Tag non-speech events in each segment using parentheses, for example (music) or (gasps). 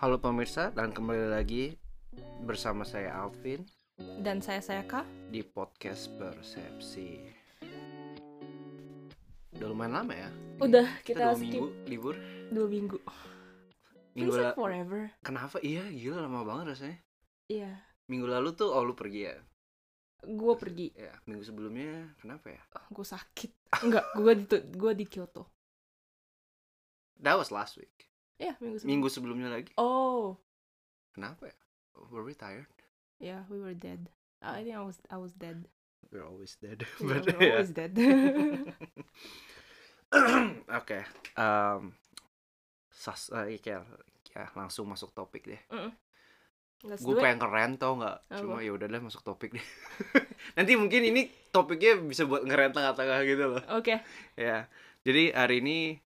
Halo pemirsa dan kembali lagi bersama saya Alvin dan saya saya kak di podcast Persepsi. Udah lumayan lama ya? udah kita, dua minggu skip libur. dua minggu Minggu Feels like la- forever Kenapa? Iya, gila lama banget rasanya. iya Minggu lalu tuh oh lu pergi ya. gue pergi Ya, minggu sebelumnya kenapa ya? oh, gue (laughs) sakit enggak gue di gue di Kyoto That was last week. ya minggu sebelum Minggu sebelumnya lagi. oh Kenapa ya? Were we tired? yeah iya, we were dead Oh, I think I was I was (laughs) dead We're always dead. (laughs) yeah, But, we were ya. always dead (laughs) (coughs) Oke, em, um, sas, eh, kayak- ya, langsung masuk topik deh. Let's Gue do it. pengen keren tau nggak? Apa? Cuma ya udah deh masuk topik deh. (laughs) Nanti mungkin ini topiknya bisa buat ngeren tengah-tengah gitu loh. oke Ya, jadi hari ini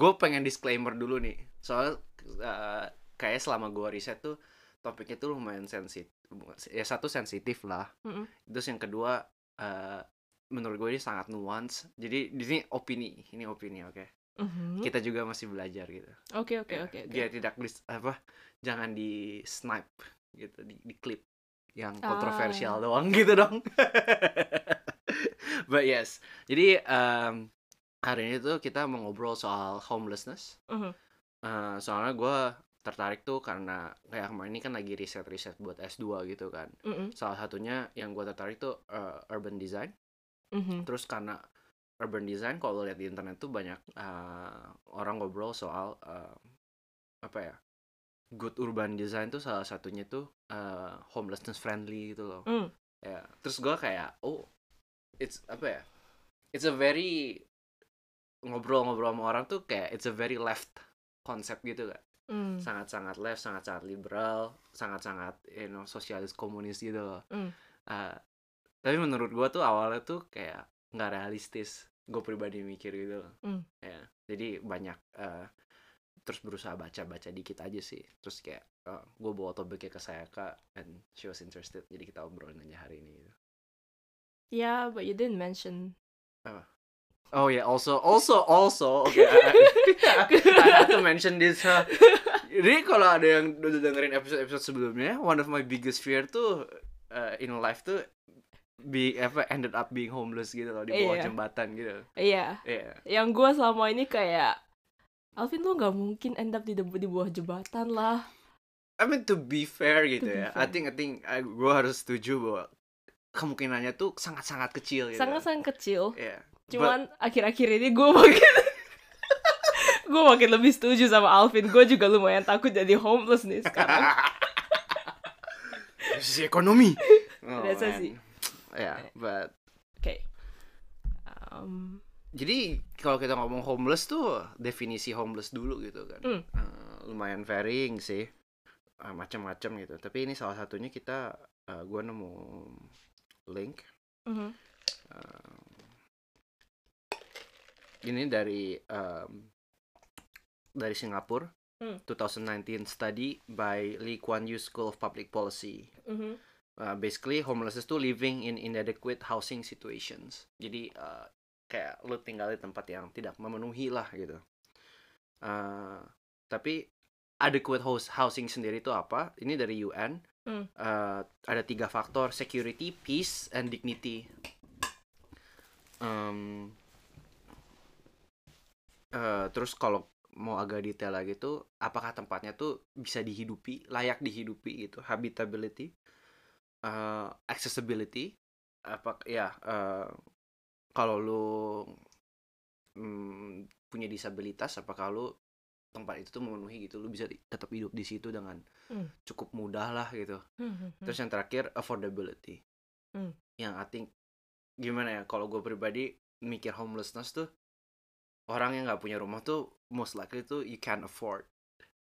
gue pengen disclaimer dulu nih. Soalnya eh, kayak selama gue riset tuh topiknya tuh lumayan sensitif. Ya satu sensitif lah. Mm-mm. Terus yang kedua eh, menurut gue ini sangat nuance. Jadi di sini opini, ini opini oke. Mhm. Kita juga masih belajar gitu. oke oke Ya, oke oke. biar tidak dis- apa jangan di snipe gitu di, di clip yang kontroversial doang (laughs) gitu dong but yes jadi em, hari ini tuh kita mau ngobrol soal homelessness Mhm. Eh, soalnya gue tertarik tuh karena kayak kemarin ini kan lagi riset riset buat S2 gitu kan Mm-mm. salah satunya yang gue tertarik tuh eh, urban design Mhm. terus karena urban design kalau lo lihat di internet tuh banyak eh, orang ngobrol soal eh, apa ya good urban design tuh salah satunya tuh eh, homelessness friendly gitu loh Mm. ya terus gua kayak oh it's apa ya it's a very ngobrol-ngobrol sama orang tuh kayak it's a very left konsep gitu kan Mm. sangat-sangat left sangat-sangat liberal sangat-sangat you know sosialis komunis gitu loh Mm. Eh, tapi menurut gua tuh awalnya tuh kayak nggak realistis gue pribadi mikir gitu loh Mm. ya jadi banyak eh, terus berusaha baca-baca dikit aja sih terus kayak gue bawa topiknya ke saya kak and she was interested jadi kita obrolin aja hari ini gitu. yeah but you didn't mention oh ya also also also okay, I, I have to mention this huh? Jadi kalau ada yang udah dengerin episode-episode sebelumnya, one of my biggest fear tuh uh, in life tuh be apa ended up being homeless gitu loh di bawah Iya. jembatan gitu. iya Iya. yang gue selama ini kayak Alvin lu nggak mungkin end up di, de- di bawah jembatan lah I mean to be fair gitu To be ya. I fair. think I think I, gue harus setuju bahwa kemungkinannya tuh sangat-sangat kecil gitu. sangat-sangat kecil Iya. cuman akhir-akhir ini gue makin (laughs) gue makin lebih setuju sama Alvin gue juga lumayan takut jadi homeless nih sekarang But- (laughs) Krisis ekonomi. Oh, Biasa man. sih. Iya, but oke Um, jadi kalau kita ngomong homeless tuh definisi homeless dulu gitu kan Hmm. Eh, lumayan varying sih Eh, macam-macam gitu tapi ini salah satunya kita eh, gua nemu link eh, mhm. ini dari em, dari Singapura Hmm. 2019 study by Lee Kuan Yew School of Public Policy Mhm. Uh, basically homelessness tuh living in inadequate housing situations. Jadi uh, kayak lu tinggal di tempat yang tidak memenuhi lah gitu. Uh, tapi adequate house housing sendiri itu apa? Ini dari UN. Hmm. Uh, ada tiga faktor security, peace, and dignity. Um, uh, terus kalau mau agak detail lagi tuh, apakah tempatnya tuh bisa dihidupi, layak dihidupi gitu, habitability, eh, accessibility apa ya eh, kalau lu mm, punya disabilitas apakah lu tempat itu tuh memenuhi gitu lu bisa di- tetap hidup di situ dengan Hmm. cukup mudah lah gitu Mhm. terus yang terakhir affordability Hmm. yang I think gimana ya kalau gue pribadi mikir homelessness tuh orang yang nggak punya rumah tuh most likely tuh you can afford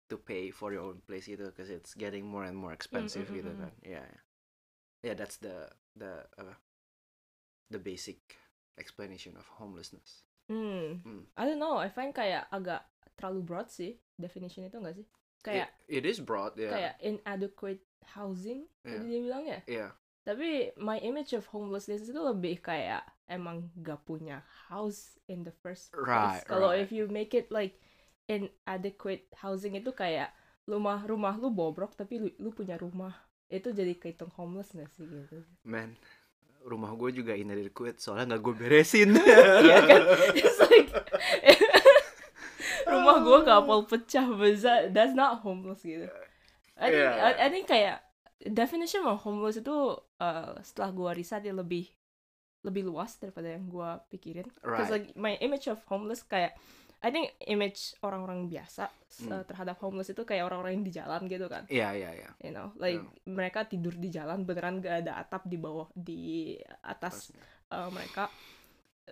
to pay for your own place gitu because it's getting more and more expensive mm, gitu mm, kan ya yeah, yeah. Yeah, that's the the apa, the basic explanation of homelessness Hmm. Hmm. I don't know I find kayak agak terlalu broad sih definition itu nggak sih kayak it, it is broad ya kayak inadequate housing Yeah. tadi dia bilang ya yeah. tapi my image of homelessness itu lebih kayak emang gak punya house in the first place. Right, Kalau right. if you make it like inadequate housing itu kayak rumah rumah lu bobrok tapi lu, lu punya rumah itu jadi kehitung homeless gak sih gitu (laughs) man rumah gue juga inadequate soalnya nggak gue beresin (laughs) Iya kan? (laughs) It's like (laughs) rumah gue Oh. kapal pecah besar. That's not homeless gitu. I think, Yeah. I, I think kayak definition of homeless itu uh, setelah gue riset ya lebih lebih luas daripada yang gue pikirin. Because right like my image of homeless kayak I think image orang-orang biasa s- Hmm. terhadap homeless itu kayak orang-orang yang di jalan gitu kan. iya iya iya You know, like mereka tidur di jalan beneran gak ada atap di bawah di atas Pastinya. uh, mereka.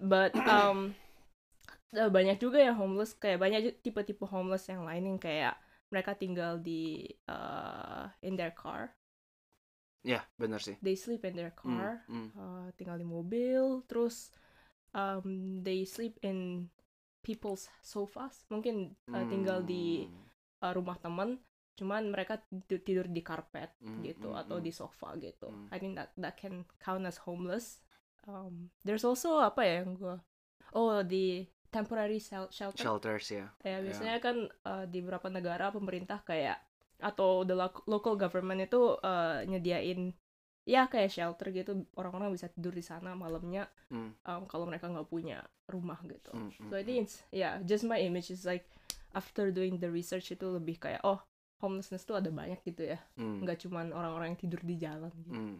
But (coughs) um, uh, banyak juga yang homeless kayak banyak ju- tipe-tipe homeless yang lain yang kayak mereka tinggal di uh, in their car, ya benar sih they sleep in their Hmm, car, hmm. uh, tinggal di mobil, terus um, they sleep in people's sofas, mungkin hmm, uh, tinggal di uh, rumah teman, cuman mereka tidur, tidur di karpet Hmm, gitu hmm, atau hmm. di sofa gitu. Hmm. I think that that can count as homeless. Um, there's also apa ya yang gua oh di temporary shel- shelter. shelters ya ya biasanya kan uh, di beberapa negara pemerintah kayak atau the lo- local government itu uh, nyediain ya kayak shelter gitu orang-orang bisa tidur di sana malamnya Hmm. um, kalau mereka nggak punya rumah gitu. Hmm, hmm, So I think it's yeah, just my image is like after doing the research itu lebih kayak oh homelessness tuh ada banyak gitu ya, hmm. nggak cuman orang-orang yang tidur di jalan gitu. Hmm.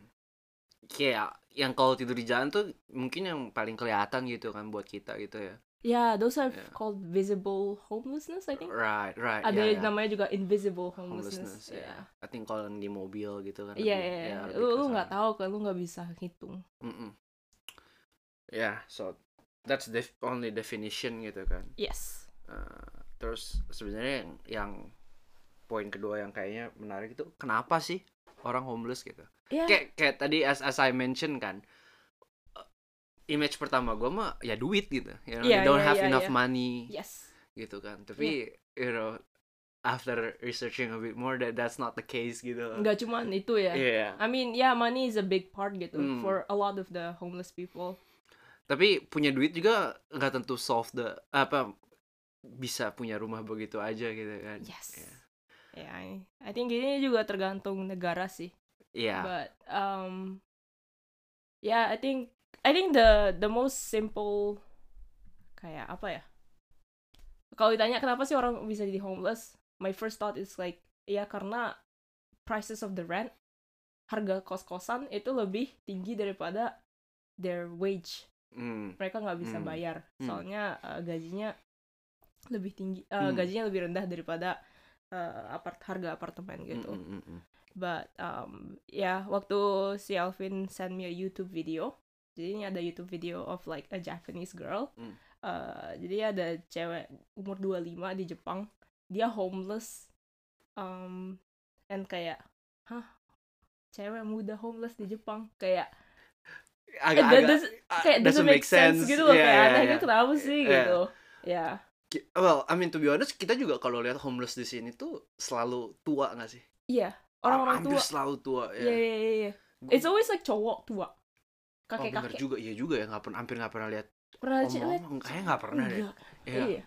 Kayak yang kalau tidur di jalan tuh mungkin yang paling kelihatan gitu kan buat kita gitu ya. Yeah, those are Yeah. called visible homelessness I think. Right, right. ada ya, yang ya. namanya juga invisible homelessness. homelessness. ya. Yeah. I think kalau yang di mobil gitu kan. Iya, lebih- iya, ya, iya. lebih Lu ke lu nggak sana. tahu kan lu nggak bisa hitung. Mm-mm. Ya, so that's the only definition gitu kan. Yes. Uh, terus sebenarnya yang, yang poin kedua yang kayaknya menarik itu kenapa sih orang homeless gitu? Iya. kayak kayak tadi as as I mention kan uh, image pertama gua mah ya duit gitu you know, they Iya, don't iya, have iya, enough iya. money Yes. gitu kan tapi you know after researching a bit more that that's not the case gitu Nggak cuman itu ya. Iya. I mean, yeah, money is a big part gitu Hmm. for a lot of the homeless people. tapi punya duit juga nggak tentu solve the apa bisa punya rumah begitu aja gitu kan Yes. Iya. Yeah, I, I think ini juga tergantung negara sih. Iya. But um, yeah, I think I think the the most simple kayak apa ya? Kalau ditanya kenapa sih orang bisa jadi homeless, my first thought is like ya karena prices of the rent, harga kos-kosan itu lebih tinggi daripada their wage. Hmm. Mereka nggak bisa Hmm. bayar, Hmm. soalnya uh, gajinya lebih tinggi, uh, Hmm. gajinya lebih rendah daripada uh, apart harga apartemen gitu. Mm, mm, mm, mm. But um, yeah, waktu si Alvin send me a YouTube video. Jadi ini ada YouTube video of like a Japanese girl. Hmm. Uh, jadi ada cewek umur 25 di Jepang. Dia homeless. Um, and kayak, hah? Cewek muda homeless di Jepang. Kayak, agak that agak does- ah, kayak doesn't make sense, gitu loh. Yeah, kayak yeah, aneh yeah. itu kenapa sih Yeah. gitu. Ya. Ki- Well, I mean to be honest, kita juga kalau lihat homeless di sini tuh selalu tua nggak sih? Iya. Orang-orang Hampir tua. selalu tua. ya. Iya, iya, iya, iya. It's always like cowok tua. oh, bener Kakek-kakek. juga, iya juga ya, nggak pernah, hampir nggak pernah lihat. Pernah lihat? Omong-omong, kayaknya nggak pernah deh. Enggak. Iya. Iya.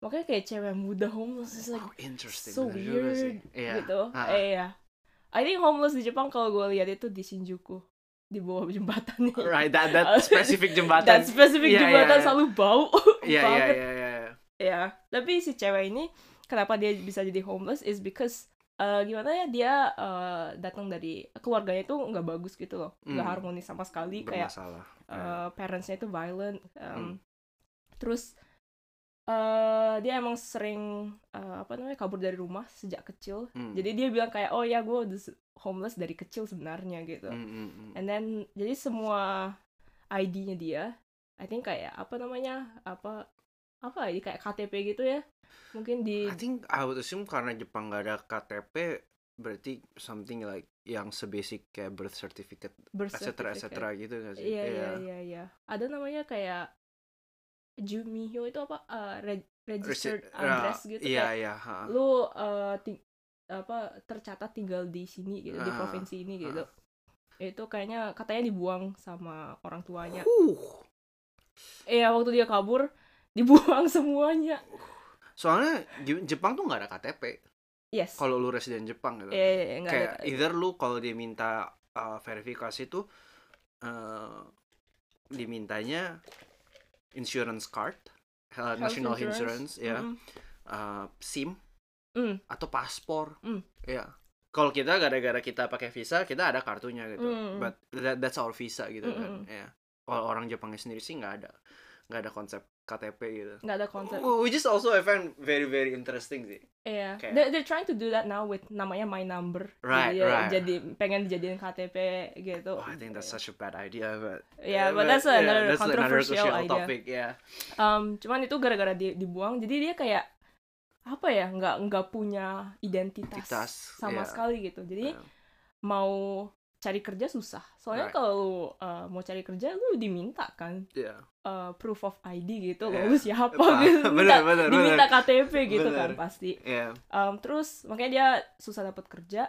Makanya kayak cewek muda homeless is like Wow, interesting. so bener juga sih. weird Iya. gitu. Ah. Eh, Iya. I think homeless di Jepang kalau gue lihat itu di Shinjuku di bawah jembatannya. (laughs) Right, that that specific jembatan. Dan Iya, spesifik iya, jembatan iya. selalu bau Iya, (laughs) iya, banget. iya, iya, iya. Ya. Tapi si cewek ini kenapa dia bisa jadi homeless is because eh, gimana ya dia eh, datang dari keluarganya itu nggak bagus gitu loh, nggak Hmm. harmonis sama sekali kayak Bermasalah. uh, parentsnya itu violent um, Hmm. terus uh, dia emang sering uh, apa namanya kabur dari rumah sejak kecil Hmm. jadi dia bilang kayak oh ya gue udah se- homeless dari kecil sebenarnya gitu Hmm, hmm, hmm. and then jadi semua ID-nya dia I think kayak apa namanya apa apa ini kayak KTP gitu ya mungkin di I think I would assume karena Jepang nggak ada KTP, berarti something like yang sebasic kayak birth certificate, birth et cetera, et certificate. cetera gitu nggak sih? Iya iya iya iya. Ada namanya kayak Jumihyo itu apa eh, re- registered Resi- address ah, gitu Iya, kayak iya. ha. lu eh, ti- apa tercatat tinggal di sini gitu di Ah, provinsi ini gitu. Itu kayaknya katanya dibuang sama orang tuanya. Huh. Iya waktu dia kabur dibuang (laughs) semuanya. Soalnya Je- Jepang tuh nggak ada KTP. yes kalau lu resident Jepang gitu. Eh, eh, eh, nggak kayak ada- either lu kalau dia minta uh, verifikasi tuh eh dimintanya insurance card, uh, health Hmm. national insurance, ya, Mm-mm. uh, SIM Mm. atau paspor, Mm. ya. Kalau kita gara-gara kita pakai visa, kita ada kartunya gitu. Mm. But that- that's our visa gitu kan, Mm-mm. ya. Kalau orang Jepangnya sendiri sih nggak ada, nggak ada konsep KTP gitu. nggak ada konsep Which is also I find very very interesting sih. Iya, Kayak- They- they're trying to do that now with namanya my number. Right, jadi, ya, right. jadi pengen dijadiin KTP gitu. Oh, I think that's such a bad idea, but Yeah, but that's another that's controversial idea. topic, yeah. Um, cuman itu gara-gara di- dibuang, jadi dia kayak apa ya, nggak nggak punya identitas Identitas, iya. sama sekali gitu. Jadi Yeah. mau cari kerja susah. Soalnya Right. kalau lu, uh, mau cari kerja lu diminta kan Yeah. uh, proof of ID gitu, Iya. lu siapa Paham. gitu, Bener, Minta- bener, diminta KTP gitu Bener. kan pasti. Yeah. Um, terus makanya dia susah dapat kerja.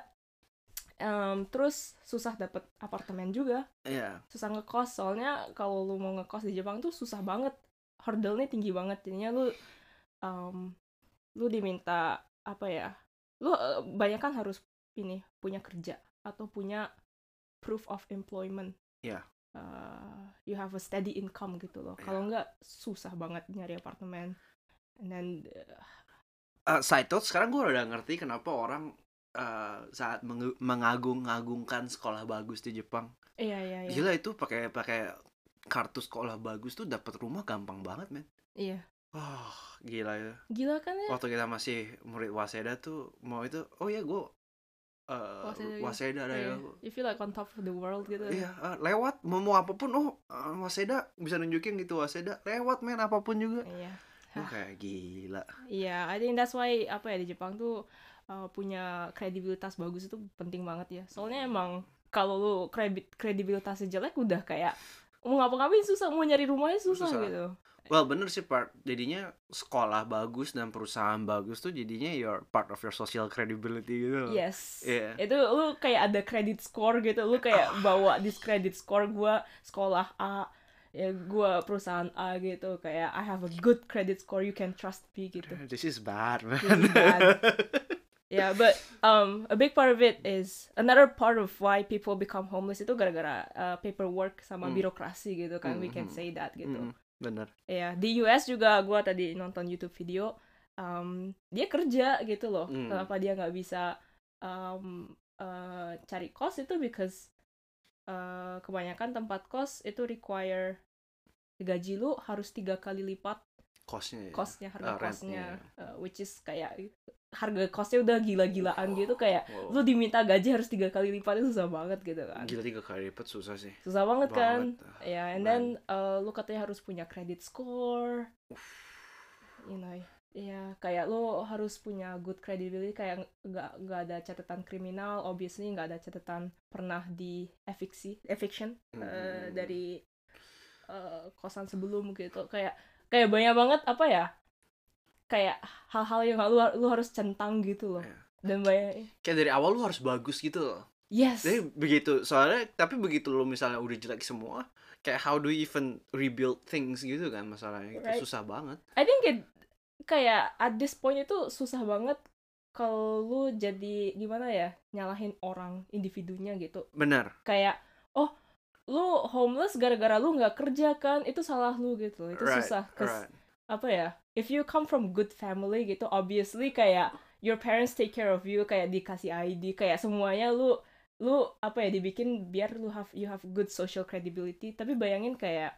Um, terus susah dapat apartemen juga, Yeah. susah ngekos soalnya kalau lu mau ngekos di Jepang tuh susah banget, hurdle-nya tinggi banget. Jadinya lu um, lu diminta apa ya? Lu eh, banyak kan harus ini punya kerja atau punya proof of employment. Iya. Uh, you have a steady income gitu loh. Kalau Iya. nggak susah banget nyari apartemen. And then eh, Uh, side note, sekarang gue udah ngerti kenapa orang uh, saat mengu- mengagung-agungkan sekolah bagus di Jepang. iya iya iya. Gila itu pakai pakai kartu sekolah bagus tuh dapat rumah gampang banget, men. Iya. Wah, gila ya. Gila kan ya? Waktu kita masih murid Waseda tuh mau itu, oh ya gue uh, Waseda gitu. Waseda ada ya. Iya. You feel like on top of the world gitu. Iya, eh, lewat mau mau apapun oh eh, Waseda bisa nunjukin gitu Waseda lewat main apapun juga. Iya. Wah, kayak gila. Iya, I think that's why apa ya di Jepang tuh uh, punya kredibilitas bagus itu penting banget ya. Soalnya emang kalau lu kredit kredibilitasnya jelek udah kayak mau ngapa-ngapain susah, mau nyari rumahnya susah, Susah. gitu. Well, bener sih part. Jadinya sekolah bagus dan perusahaan bagus tuh jadinya your part of your social credibility gitu. loh. Yes. Iya. Itu lu kayak ada credit score gitu. Lu kayak bawa this credit score gua sekolah A, ya gua perusahaan A gitu. Kayak I have a good credit score, you can trust me gitu. This is bad, man. really bad. (laughs) yeah, but um, a big part of it is another part of why people become homeless itu gara-gara uh, paperwork sama Hmm. birokrasi gitu kan. We can Hmm, say that gitu. Mm-mm, bener. Ya, di US juga gua tadi nonton YouTube video um, dia kerja gitu loh. Hmm. Kenapa dia nggak bisa um, uh, cari kos itu because uh, kebanyakan tempat kos itu require gaji lu harus tiga kali lipat Kosnya. ya. kosnya harga Ah, rent, kosnya iya. Uh, which is kayak harga kosnya udah gila-gilaan gitu kayak Wow. lu diminta gaji harus tiga kali lipat itu susah banget gitu kan Gila tiga kali lipat susah sih. susah banget kan Banget. ya and then uh, lu katanya harus punya credit score you know ya kayak lu harus punya good credibility kayak nggak nggak ada catatan kriminal obviously nggak ada catatan pernah di eviction eviction uh, Hmm. dari uh, kosan sebelum gitu kayak kayak banyak banget apa ya kayak hal-hal yang lu lu harus centang gitu loh Iya. dan banyak Kayak dari awal lu harus bagus gitu loh. yes Jadi begitu, soalnya tapi begitu lo misalnya udah jelek semua, kayak how do you even rebuild things gitu kan masalahnya, itu Right. susah banget. I think it kayak at this point itu susah banget kalau lu jadi gimana ya nyalahin orang individunya gitu Bener, kayak oh lu homeless gara-gara lu nggak kerja kan itu salah lu gitu itu right, susah 'Cause, right. apa ya if you come from good family gitu obviously kayak your parents take care of you kayak dikasih ID kayak semuanya lu lu apa ya dibikin biar lu have you have good social credibility tapi bayangin kayak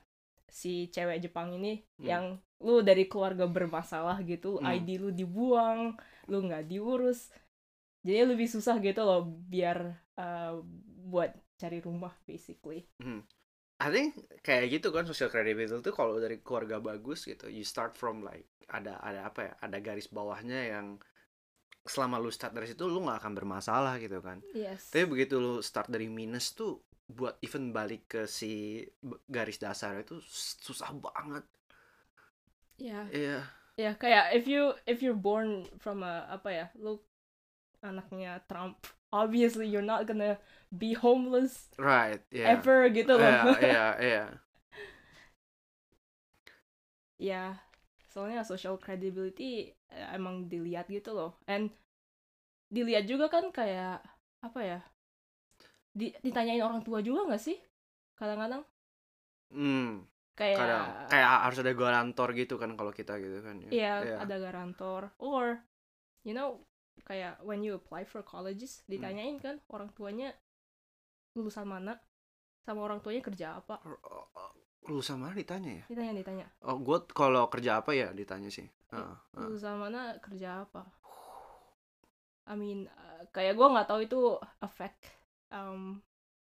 si cewek Jepang ini Hmm. yang lu dari keluarga bermasalah gitu Hmm. ID lu dibuang lu nggak diurus jadi lebih susah gitu loh biar uh, buat cari rumah basically I think kayak gitu kan social credibility tuh kalau dari keluarga bagus gitu, you start from like ada ada apa ya, ada garis bawahnya yang selama lu start dari situ lu nggak akan bermasalah gitu kan. yes Tapi begitu lu start dari minus tuh buat even balik ke si b- garis dasar itu susah banget. ya Iya. Ya kayak if you if you're born from a apa ya lu anaknya Trump obviously you're not gonna be homeless Right, yeah. ever gitu loh Iya, ya (laughs) iya, iya. Ya, soalnya social credibility eh, emang dilihat gitu loh and dilihat juga kan kayak apa ya di, ditanyain orang tua juga nggak sih kadang-kadang Hmm, kayak kadang kayak harus ada garantor gitu kan kalau kita gitu kan ya. Iya, Iya. ada garantor. Or, you know, kayak when you apply for Hmm. colleges, ditanyain kan orang tuanya lulusan mana, sama orang tuanya kerja apa. uh, Lu sama ditanya ya? Ditanya, ditanya. Oh, gue kalau kerja apa ya ditanya sih. Ah, ah. Lulusan mana, kerja apa. I mean, uh, kayak gua nggak tahu itu affect um,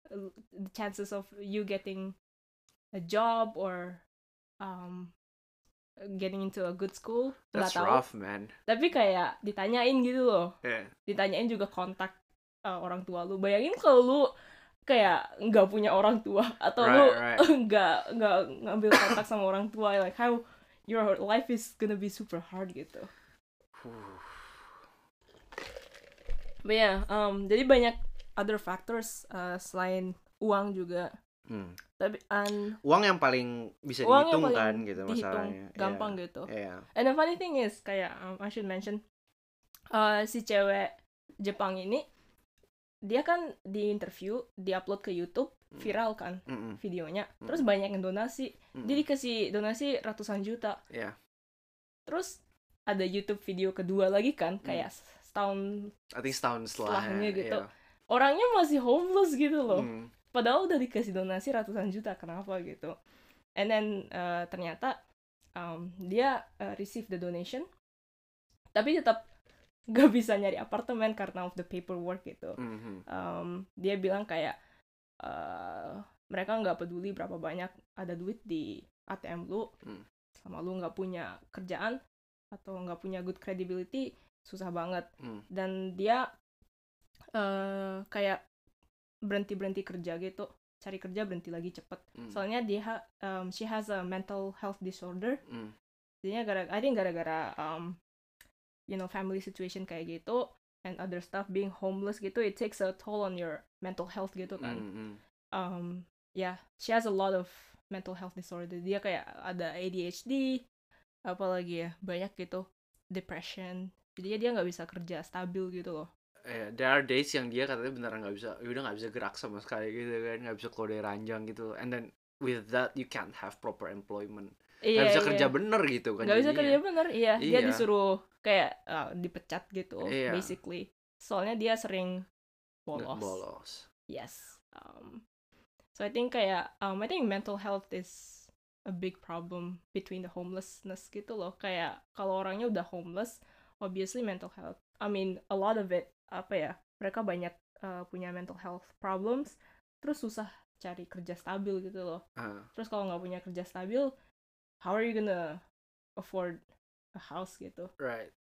the chances of you getting a job or um, getting into a good school. Nggak That's tahu. rough man. Iya, Tapi kayak ditanyain gitu loh. Yeah. ditanyain juga kontak uh, orang tua lu bayangin kalau lu kayak nggak punya orang tua atau Oh, lu Right, (laughs) nggak nggak ngambil kontak sama orang tua like how your life is gonna be super hard gitu Huh. but yeah um, jadi banyak other factors uh, selain uang juga Hmm. tapi an Uang yang paling bisa uang yang dihitung paling kan gitu dihitung masalahnya. Iya. gampang gitu Iya. and the funny thing is kayak um, I should mention uh, si cewek Jepang ini dia kan di interview di upload ke YouTube Hmm. hmm. viral kan Mm-mm, videonya Mm. terus banyak yang donasi mm-mm. dia dikasih donasi ratusan juta Iya. terus ada YouTube video kedua lagi kan Mm. kayak setahun I think setahun setelahnya setelahnya gitu. iya. orangnya masih homeless gitu loh Hmm. padahal udah dikasih donasi ratusan juta kenapa gitu and then uh, ternyata um, dia uh, receive the donation tapi tetap (laughs) gak bisa nyari apartemen karena of the paperwork gitu Mhm. um, dia bilang kayak eh, mereka nggak peduli berapa banyak ada duit di ATM lu Hmm. sama lu nggak punya kerjaan atau nggak punya good credibility susah banget Hmm. dan dia eh kayak berhenti berhenti kerja gitu cari kerja berhenti lagi cepet Hmm. soalnya dia ha- um, she has a mental health disorder Hmm. jadinya gara I think gara-gara um, you know family situation kayak gitu and other stuff being homeless gitu it takes a toll on your mental health gitu kan Mhm. um yeah she has a lot of mental health disorder dia kayak ada ADHD apalagi ya banyak gitu depression jadinya dia nggak bisa kerja stabil gitu loh Eh, there are days yang dia katanya beneran nggak bisa, udah nggak bisa gerak sama sekali gitu kan, nggak bisa keluar dari ranjang gitu. And then with that you can't have proper employment. Nggak iya bisa kerja iya. bener gitu kan. nggak bisa kerja jadinya. bener iya Iya. dia disuruh kayak uh, dipecat gitu Iya. basically soalnya dia sering Nggak bolos bolos. Yes. Um, so I think kayak um, I think mental health is a big problem between the homelessness gitu loh. Kayak kalau orangnya udah homeless, obviously mental health. I mean a lot of it apa ya? Mereka banyak uh, punya mental health problems, terus susah cari kerja stabil gitu loh. Ah, Terus kalau nggak punya kerja stabil, how are you gonna afford a house gitu? right.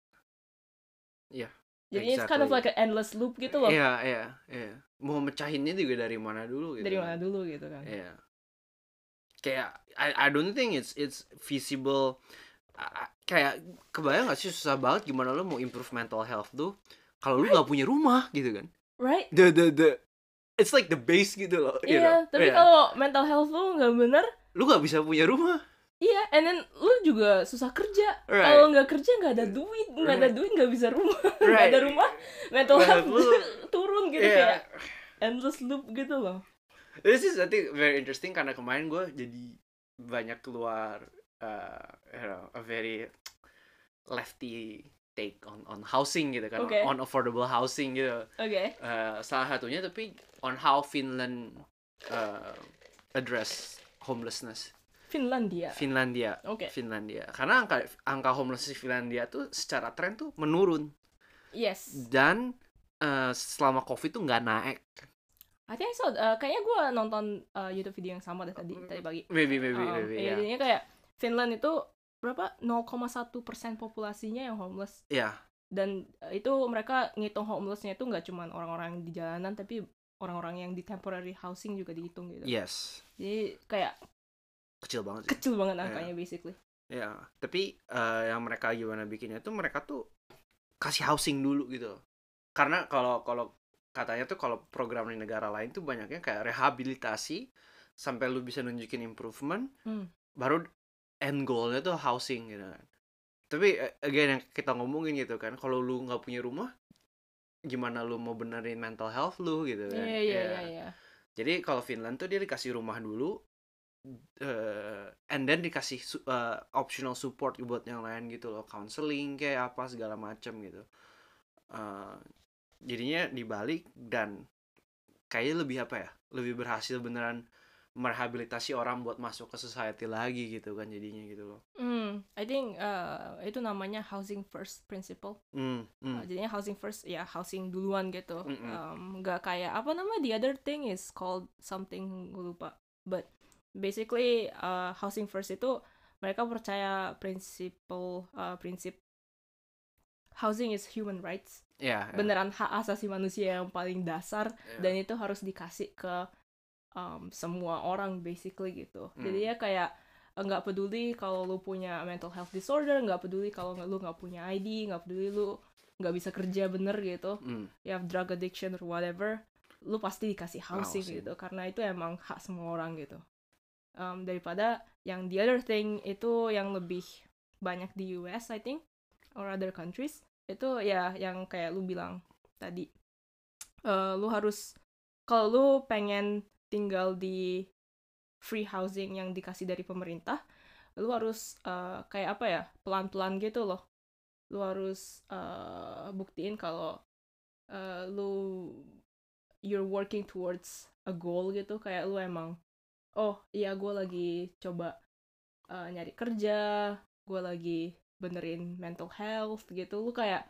Jadi it's kind of like Exactly. an endless loop gitu loh. Iya, iya, iya. Mau mecahinnya juga dari mana dulu gitu. Dari kan. mana dulu gitu kan? Iya. Kayak I I don't think it's it's feasible. A- a- Kayak kebayang gak sih susah banget gimana lo mau improve mental health tuh kalau lu gak punya rumah gitu kan. Right? The the the it's like the base gitu loh. you know. Iya, tapi Iya. kalau mental health lu nggak bener lu gak bisa punya rumah. Iya, and then lu juga susah kerja. Right. Kalau nggak kerja nggak ada duit, nggak ada Right. duit nggak bisa rumah, (laughs) nggak Right. ada rumah, mental Mental health health turun (laughs) gitu Iya. kayak endless loop gitu loh. This is I think very interesting karena kemarin gue jadi banyak keluar uh, you know, a very lefty take on on housing gitu kan Okay. on affordable housing gitu. Oke, Uh, salah satunya tapi on how Finland uh, address homelessness Finlandia. Finlandia Oke, Finlandia karena angka angka homelessness di Finlandia tuh secara tren tuh menurun yes. dan uh, selama covid tuh nggak naik I think I saw. uh, kayaknya gue nonton uh, YouTube video yang sama deh tadi Hmm. tadi pagi. maybe maybe Um, maybe ya iya, Jadinya kayak Finland itu berapa 0,1 persen populasinya yang homeless ya dan uh, itu mereka ngitung homelessnya itu nggak cuman orang-orang di jalanan tapi orang-orang yang di temporary housing juga dihitung gitu. yes Jadi kayak kecil banget sih. kecil Iya. banget angkanya basically. ya tapi uh, yang mereka gimana bikinnya tuh mereka tuh kasih housing dulu gitu karena kalau kalau katanya tuh kalau program di negara lain tuh banyaknya kayak rehabilitasi sampai lu bisa nunjukin improvement Hmm. baru end goalnya tuh housing gitu kan tapi eh, again yang kita ngomongin gitu kan kalau lu nggak punya rumah gimana lu mau benerin mental health lu gitu kan. Iya iya Ya. iya iya. Jadi kalau Finland tuh dia dikasih rumah dulu eh and then dikasih su- eh, optional support buat yang lain gitu loh, counseling kayak apa segala macem gitu. Eh, jadinya dibalik dan kayaknya lebih apa ya? Lebih berhasil beneran merehabilitasi orang buat masuk ke society lagi gitu kan jadinya gitu loh. Hmm, I think uh, itu namanya housing first principle. Hmm, Uh, hmm. jadinya housing first ya housing duluan gitu. Mm-mm. Um, nggak kayak apa nama the other thing is called something gue lupa. But basically uh, housing first itu mereka percaya prinsipal uh, prinsip housing is human rights. Ya, ya. Beneran hak asasi manusia yang paling dasar Ya. dan itu harus dikasih ke um, semua orang basically gitu Hmm. jadi ya kayak eh, nggak peduli kalau lu punya mental health disorder nggak peduli kalau nggak- lu nggak punya ID nggak peduli lu nggak bisa kerja bener gitu Hmm, ya drug addiction or whatever lu pasti dikasih housing, Housing. gitu karena itu emang hak semua orang gitu Um, daripada yang the other thing itu yang lebih banyak di US I think or other countries itu ya yang kayak lu bilang tadi Eh, lu harus kalau lu pengen tinggal di free housing yang dikasih dari pemerintah lu harus eh, kayak apa ya pelan-pelan gitu loh lu harus eh, buktiin kalau eh, lu you're working towards a goal gitu kayak lu emang oh iya gue lagi coba eh, nyari kerja gue lagi benerin mental health gitu lu kayak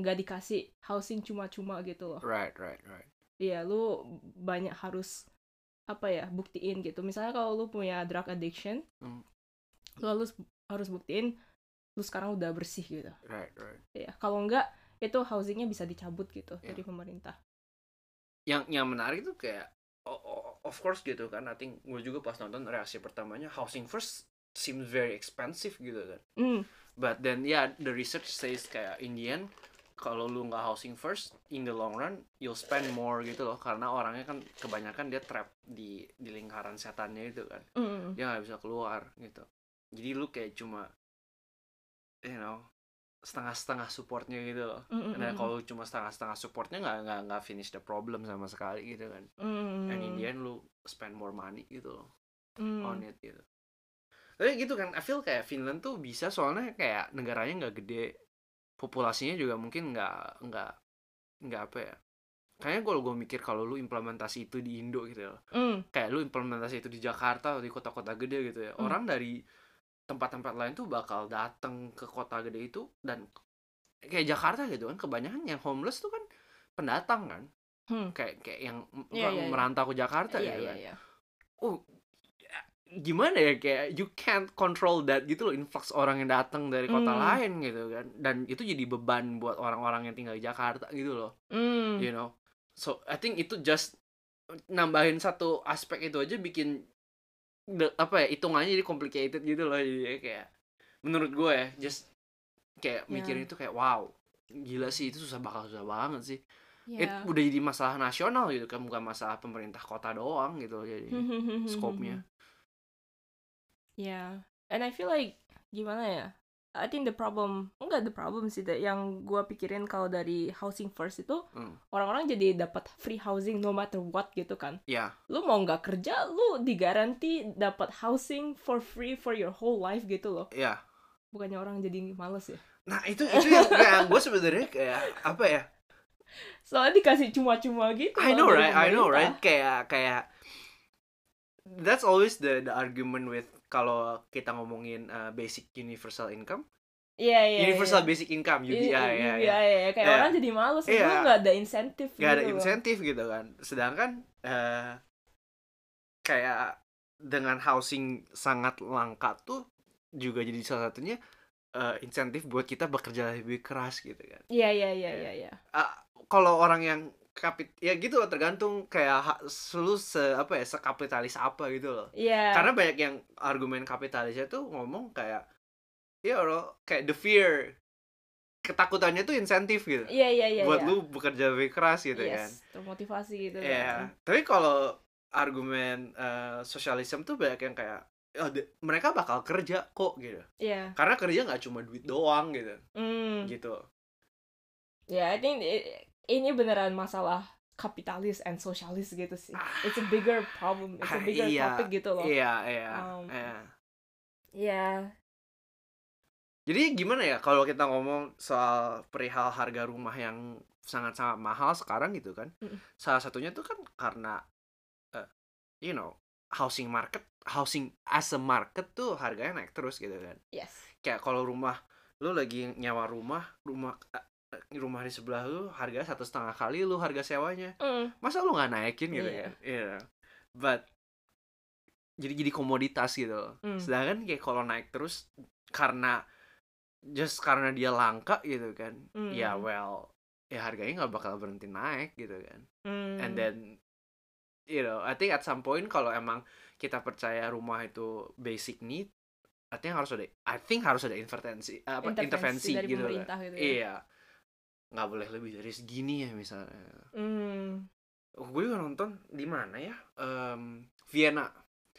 nggak dikasih housing cuma-cuma gitu loh Right, right, right. Iya, lu banyak harus apa ya buktiin gitu. Misalnya kalau lu punya drug addiction, Hmm. lu harus harus buktiin lu sekarang udah bersih gitu. Right, right. Iya, kalau enggak itu housingnya bisa dicabut gitu Iya. dari pemerintah. Yang yang menarik tuh kayak o- o- of course gitu kan. I think gue juga pas nonton reaksi pertamanya housing first seems very expensive gitu kan. Hmm, But then yeah, the research says kayak in the end kalau lu nggak housing first in the long run you'll spend more gitu loh karena orangnya kan kebanyakan dia trap di di lingkaran setannya itu kan. hmm, dia nggak bisa keluar gitu jadi lu kayak cuma you know setengah-setengah supportnya gitu loh hmm, hmm, Nah, hmm, kalau cuma setengah-setengah supportnya nggak nggak nggak finish the problem sama sekali gitu kan. hmm, And in the end lu spend more money gitu loh hmm. on it gitu. Tapi gitu kan, I feel kayak Finland tuh bisa soalnya kayak negaranya nggak gede, populasinya juga mungkin nggak nggak nggak apa ya. Kayaknya kalau gue mikir kalau lu implementasi itu di Indo gitu loh, Hmm, kayak lu implementasi itu di Jakarta atau di kota-kota gede gitu ya Hmm. orang dari tempat-tempat lain tuh bakal datang ke kota gede itu dan kayak Jakarta gitu kan kebanyakan yang homeless tuh kan pendatang kan hmm. kayak kayak yang m- Iya, iya, iya. merantau ke Jakarta Iya, gitu iya, kan iya. gimana ya kayak you can't control that gitu loh influx orang yang datang dari kota Hmm. lain gitu kan dan itu jadi beban buat orang-orang yang tinggal di Jakarta gitu loh Hmm, you know so I think itu just nambahin satu aspek itu aja bikin the- apa ya hitungannya jadi complicated gitu loh jadi kayak menurut gue ya just kayak Ya. mikirin itu kayak wow gila sih itu susah bakal susah banget sih It iya. udah jadi masalah nasional gitu kan bukan masalah pemerintah kota doang gitu loh jadi Hmm, hmm, (laughs) hmm, hmm, scope-nya. hmm. Yeah, and I feel like gimana ya? I think the problem enggak the problem sih the, yang gua pikirin kalau dari housing first itu Hmm. orang-orang jadi dapat free housing no matter what gitu kan. ya Lu mau nggak kerja, lu digaranti dapat housing for free for your whole life gitu loh. ya Bukannya orang jadi males ya. nah itu itu yang kayak gue sebenarnya kayak apa ya Soalnya dikasih cuma-cuma gitu. I loh know dari right, I know right. pemerintah. Kayak kayak that's always the the argument with kalau kita ngomongin uh, basic universal income, Iya, iya. universal iya. basic income Iya, UBI ya. iya, ya. iya. Kayak Iya. orang jadi males, Iya. lu nggak ada insentif Gak ada gitu loh. insentif gitu kan. Sedangkan eh, kayak dengan housing sangat langka tuh juga jadi salah satunya eh, insentif buat kita bekerja lebih keras gitu kan. Iya, iya, iya, iya, iya. kalau orang yang kapit ya gitu loh, tergantung kayak ha- lu se apa ya sekapitalis apa gitu loh. Iya. karena banyak yang argumen kapitalisnya tuh ngomong kayak ya loh kayak the fear ketakutannya tuh insentif gitu Iya iya iya. buat iya. lu bekerja lebih keras gitu kan yes, termotivasi gitu. ya tapi kalau argumen eh, sosialisme tuh banyak yang kayak "Oh, de- mereka bakal kerja kok gitu Iya. karena kerja nggak cuma duit doang gitu Hmm. gitu Ya, I think it, ini beneran masalah kapitalis and socialis gitu sih. It's a bigger problem, it's a Ah, bigger iya, topic gitu loh. Iya, iya. Um, iya. Iya. Jadi gimana ya kalau kita ngomong soal perihal harga rumah yang sangat-sangat mahal sekarang gitu kan? Mm-mm. Salah satunya tuh kan karena eh, you know, housing market, housing as a market tuh harganya naik terus gitu kan. Yes. Kayak kalau rumah lu lagi nyawa rumah, rumah eh, eh, rumah di sebelah lu harganya satu setengah kali lu harga sewanya Mm. masa lu nggak naikin gitu Iya. kan Iya. but jadi jadi komoditas gitu loh. Mm. sedangkan kayak kalau naik terus karena just karena dia langka gitu kan Mm. ya well ya harganya nggak bakal berhenti naik gitu kan Mm. and then you know I think at some point kalau emang kita percaya rumah itu basic need I think harus ada I think harus ada intervensi eh, apa intervensi, dari gitu kan pemerintah gitu ya. iya nggak boleh lebih dari segini ya misalnya Mm. gue juga nonton di mana ya Em, Vienna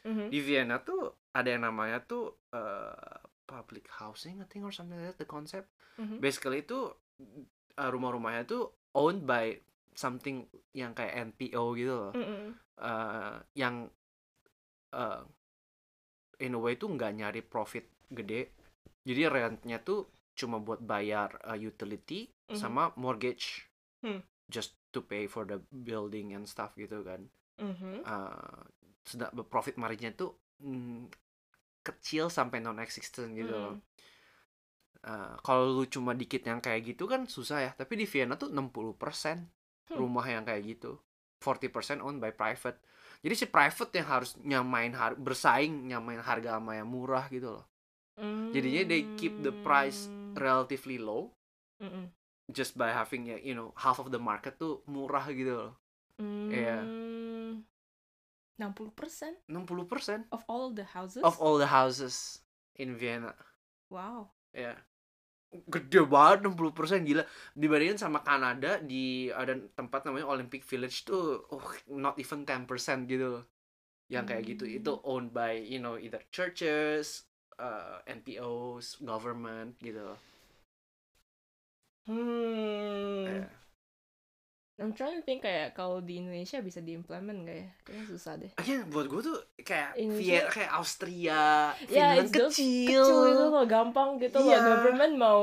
Mhm. di Vienna tuh ada yang namanya tuh eh, public housing I think or something like that the concept Mhm. basically itu eh, rumah-rumahnya tuh owned by something yang kayak NPO gitu loh Mm-mm. Eh, yang eh, in a way tuh nggak nyari profit gede jadi rentnya tuh cuma buat bayar eh, utility Mhm. sama mortgage Hmm. just to pay for the building and stuff gitu kan Mhm. uh, sudah profit marginnya tuh mm, kecil sampai non existent gitu loh. Mm. Uh, kalau lu cuma dikit yang kayak gitu kan susah ya. Tapi di Vienna tuh 60% Hmm. rumah yang kayak gitu. 40% owned by private. Jadi si private yang harus nyamain har- bersaing nyamain harga sama yang murah gitu loh. Jadinya they keep the price Mm. Relatively low Mm-mm. just by having ya, you know half of the market tuh murah gitu loh. Iya. Mm. 60% 60% of all the houses. of all the houses in Vienna. Wow. ya gede banget 60 gila dibandingin sama Kanada di ada tempat namanya Olympic Village tuh oh, not even 10 gitu loh. yang kayak gitu Hmm. itu owned by you know either churches uh, NPOs government gitu loh. Hmm. Ya. Iya. I'm trying to think kayak kalau di Indonesia bisa diimplement gak ya? Kayaknya susah deh. Again, Iya, buat gue tuh kayak Indonesia- Vienna, kayak Austria Ya, Finland it's those kecil, kecil itu loh, gampang gitu Iya. loh. Government mau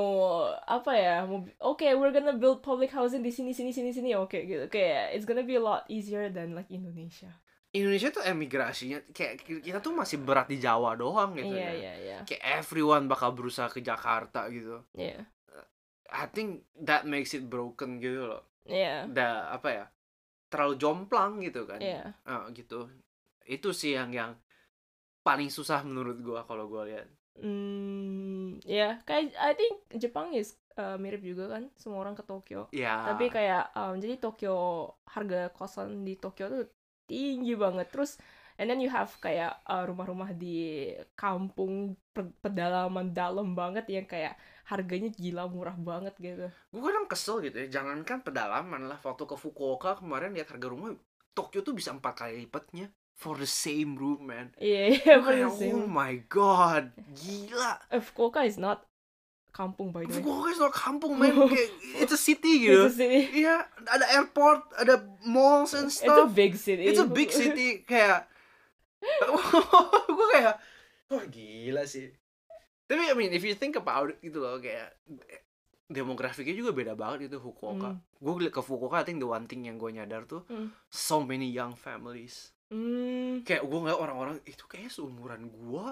apa ya? Mau oke, we're gonna build public housing di sini sini sini sini. Oke gitu. Kayak it's gonna be a lot easier than like Indonesia. Indonesia tuh emigrasinya kayak kita tuh masih berat di Jawa doang gitu Iya, ya iya, iya. kayak everyone bakal berusaha ke Jakarta gitu Iya. I think that makes it broken gitu loh. Iya. Da apa ya? Terlalu jomplang gitu kan. Iya. Ah, gitu. Itu sih yang yang paling susah menurut gua kalau gua lihat. Hmm, ya kayak I think Jepang is uh, mirip juga kan semua orang ke Tokyo. Ya. Tapi kayak um, jadi Tokyo harga kosan di Tokyo tuh tinggi banget. Terus and then you have kayak uh, rumah-rumah di kampung pe- pedalaman dalam banget yang kayak harganya gila murah banget gitu. gua kadang kesel gitu ya. Jangankan pedalaman lah. Waktu ke Fukuoka kemarin lihat harga rumah Tokyo tuh bisa empat kali lipatnya for the same room man. (laughs) Iya, iya, Gua kayak, persis. oh my god, (laughs) gila. Eh, Fukuoka is not kampung by the way. Fukuoka itu kampung (laughs) man, kayak it's a city gitu. It's a city. Iya, ada airport, ada malls and It's a stuff. big city. It's a big city kayak (laughs) gue kayak wah gila sih. Tapi I mean if you think about it gitu loh kayak demografiknya juga beda banget itu Fukuoka. Hmm. Gue liat ke Fukuoka I think the one thing yang gue nyadar tuh Hmm. so many young families. Hmm. Kayak gue ngeliat orang-orang itu kayak seumuran gue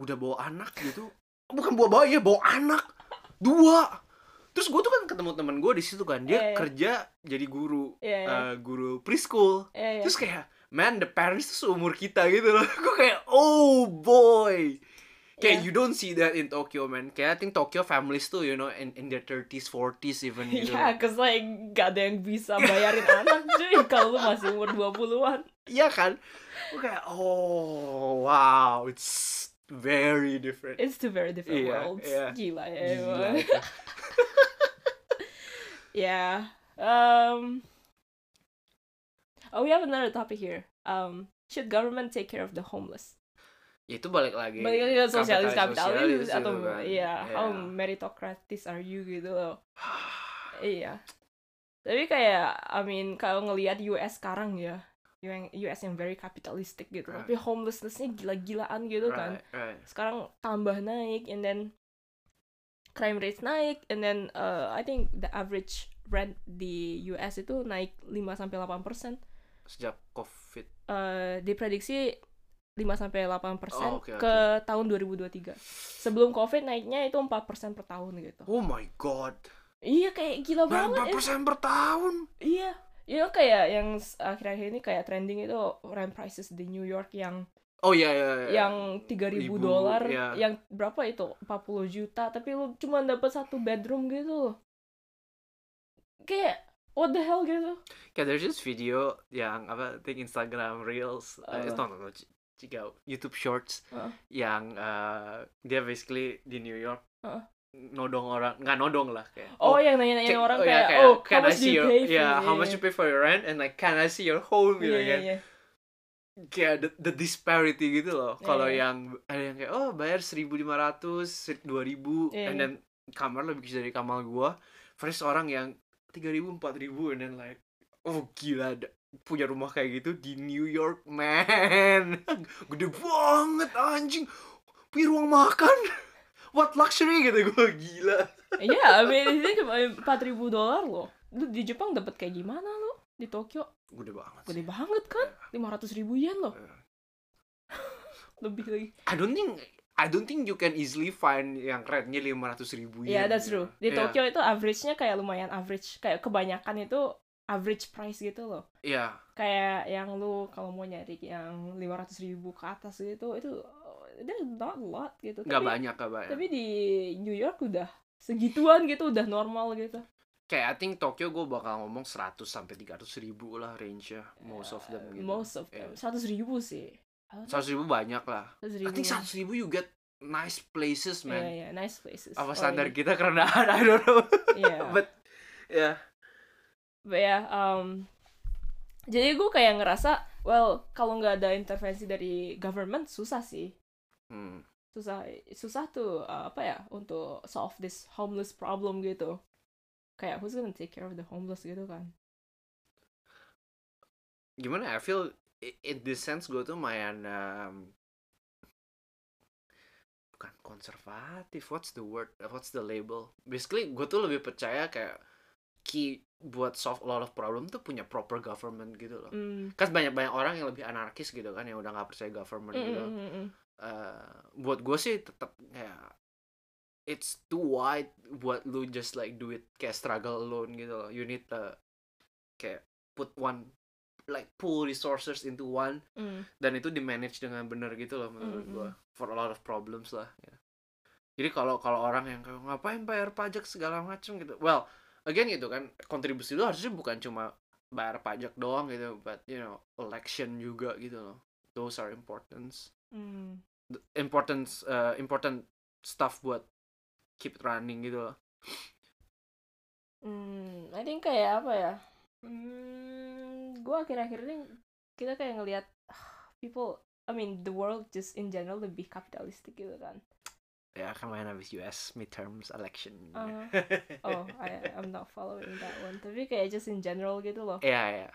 udah bawa anak gitu. Bukan bawa bawa ya bawa anak dua. Terus gue tuh kan ketemu teman gue di situ kan dia Iya, iya. kerja jadi guru Iya, iya. eh, guru preschool. Iya, iya. Terus kayak Man, the parents tuh seumur kita gitu loh (laughs) Gue kayak, oh boy Kayak Iya. you don't see that in Tokyo, man Kayak I think Tokyo families tuh, you know In, in their 30s, 40s even gitu Ya, cause like gak ada yang bisa (laughs) bayarin anak cuy kalau lu masih umur 20-an. Iya kan? Gue kayak, oh wow It's very different It's two very different Iya, worlds. iya. Gila ya Gila emang. itu. Ya. Um, oh, we have another topic here. Um, should government take care of the homeless? Ya, Itu balik lagi Balik lagi ke sosialis kapitalis kapitalis-sosialis atau gitu kan. iya, Iya. how meritocratic are you gitu loh. Iya. tapi kayak I mean kalau ngelihat US sekarang ya yang US yang very kapitalistik gitu Right. tapi homelessnessnya gila-gilaan gitu kan Right, right. sekarang tambah naik and then crime rates naik and then uh, I think the average rent di US itu naik 5 sampai 8 persen Sejak COVID. uh, diprediksi 5 sampai 8 persen Oh, oke, ke tahun 2023 sebelum covid naiknya itu 4 persen per tahun gitu Oh my god. iya kayak gila Berapa banget Nah, persen per tahun? iya you know kayak yang s- akhir-akhir ini kayak trending itu rent prices di New York yang Oh iya iya. iya. yang 3000 Ribu, dolar iya. ya. yang berapa itu 40 juta tapi lu cuma dapat satu bedroom gitu loh kayak what the hell gitu Kayak there's this video yang apa think Instagram Reels uh, it's Apa? not no, no, ci- cikau, YouTube Shorts Heeh. yang uh, dia basically di New York Heeh. nodong orang nggak nodong lah kayak Uh. oh, yang nanya-nanya cek- orang oh, ya, kayak, oh how can I much do see you your pay for yeah it?" how much you pay for your rent and like can I see your home Iya, gitu iya, kan iya. kayak the, the disparity gitu loh Iya, kalau iya. yang ada yang kayak oh bayar 1500 2000 Iya, and iya. then kamar lebih kecil dari kamar gua versus orang yang 3000 4000 and then like oh gila ada- punya rumah kayak gitu di New York man (laughs) gede banget anjing punya ruang makan (laughs) what luxury gitu gua gila Iya, I mean ini cuma 4000 dolar loh. Lu di Jepang dapat kayak gimana lu? Di Tokyo gede banget sih. gede banget kan? 500 ribu yen (laughs) loh. Iya. Lebih lagi. I don't think I don't think you can easily find yang rentnya 500 ribu Ya, that's true. Di Iya. Tokyo itu average-nya kayak lumayan average. Kayak kebanyakan itu average price gitu loh. Iya Kayak yang lu kalau mau nyari yang 500 ribu ke atas gitu itu there's not a lot gitu. nggak Tapi- banyak nggak banyak Tapi di New York udah segituan gitu, udah normal gitu. kayak I think Tokyo gue bakal ngomong 100 sampai 300 ribu lah range nya most of them gitu Most of them. 100 ribu sih. 100 ribu banyak lah 100 I ribu. think 100 ribu you get nice places Yeah, man yeah, nice places. apa Or standar in- kita kerendahan (laughs) I don't know Yeah. (laughs) but ya But yeah, um, jadi gue kayak ngerasa, well, kalau nggak ada intervensi dari government susah sih, hmm. susah, susah tuh uh, apa ya untuk solve this homeless problem gitu. Kayak who's gonna take care of the homeless gitu kan? gimana ya? I feel i- in this sense gue tuh lumayan um, bukan konservatif what's the word what's the label basically gue tuh lebih percaya kayak key buat solve a lot of problem tuh punya proper government gitu loh Mm, kan banyak banyak orang yang lebih anarkis gitu kan yang udah nggak percaya government mm, gitu mm, mm, mm. Eh, buat gue sih tetap kayak it's too wide buat lu just like do it kayak struggle alone gitu loh you need to kayak put one like pull resources into one Mm. dan itu di manage dengan benar gitu loh menurut Mm-mm. gua for a lot of problems lah ya. jadi kalau kalau orang yang kayak ngapain bayar pajak segala macem gitu well again gitu kan kontribusi lu harusnya bukan cuma bayar pajak doang gitu but you know election juga gitu loh those are importance Mm. the importance uh, important stuff buat keep it running gitu loh Hmm, I think kayak apa ya? Hmm, gue akhir-akhir ini kita kayak ngelihat ah, people, I mean the world just in general lebih kapitalistik gitu kan. ya kan main habis US midterms election (laughs) Uh, Iya. oh, I, I'm not following that one. Tapi kayak just in general gitu loh. ya ya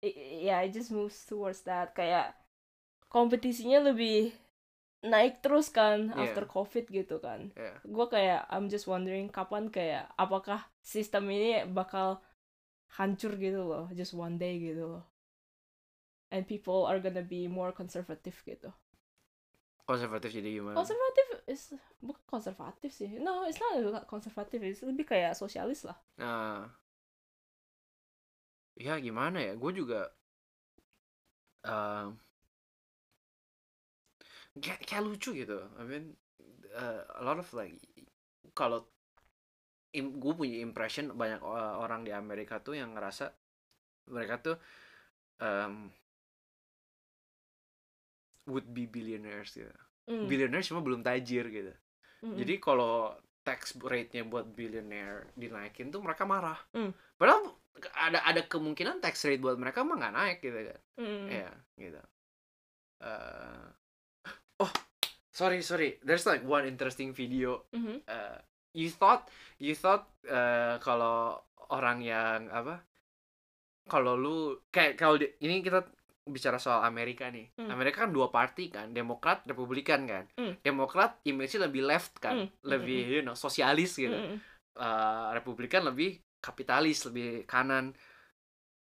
I- i- Ya, it just moves towards that. Kayak kompetisinya lebih naik terus kan Yeah. after COVID gitu kan. ya gue kayak I'm just wondering kapan kayak apakah sistem ini bakal hancur gitu loh just one day gitu loh and people are gonna be more conservative gitu konservatif jadi gimana konservatif is bukan konservatif sih no it's not about konservatif it's lebih kayak sosialis lah Nah, ya gimana ya? Gue juga um, kayak, kayak lucu gitu. I mean, uh, a lot of like kalau gue punya impression banyak o- orang di Amerika tuh yang ngerasa mereka tuh um, would be billionaires gitu. Mm, Billionaires cuma belum tajir gitu. mm, Jadi kalau tax rate-nya buat billionaire dinaikin tuh mereka marah. Hmm. Padahal ada ada kemungkinan tax rate buat mereka mah nggak naik gitu kan. mm, mm, Iya, gitu. (gasps) Eh, oh, sorry sorry. There's like one interesting video mhm, eh, you thought you thought eh, kalau orang yang apa kalau lu kayak kalau di- ini kita bicara soal Amerika nih Hmm. Amerika kan dua party kan Demokrat Republikan kan Hmm. Demokrat image-nya lebih left Hmm, kan hmm, lebih you know sosialis gitu Mm-mm. eh, Republikan lebih kapitalis, lebih kanan.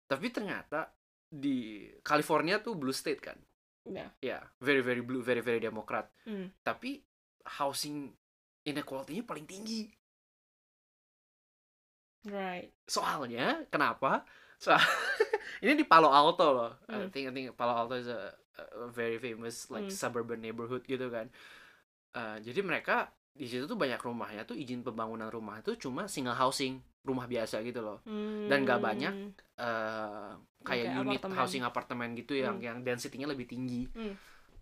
Tapi ternyata di California tuh blue state kan. Ya. Ya, very very blue, very very demokrat. Hmm. Tapi housing inequality-nya paling tinggi. Right. Soalnya kenapa? So, (laughs) ini di Palo Alto loh. I Hmm. think I think Palo Alto is a, a very famous like Hmm. suburban neighborhood gitu kan. Eh, jadi mereka di situ tuh banyak rumahnya tuh izin pembangunan rumah tuh cuma single housing, rumah biasa gitu loh. Dan nggak banyak. Hmm. eh kayak Kayak unit apartemen. housing apartemen gitu yang Hmm. yang density-nya lebih tinggi. Hmm.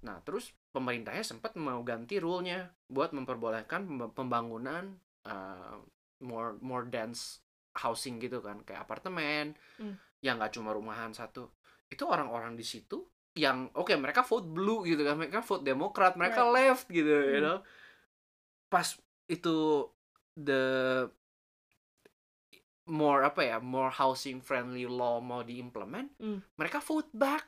Nah, terus pemerintahnya sempat mau ganti rule-nya buat memperbolehkan pemb- pembangunan eh, more more dense housing gitu kan, kayak apartemen Hmm. yang nggak cuma rumahan satu. Itu orang-orang di situ yang oke mereka vote blue gitu kan, mereka vote demokrat, mereka left gitu, you Hmm. know. Pas itu the more apa ya more housing friendly law mau diimplement Hmm. mereka vote back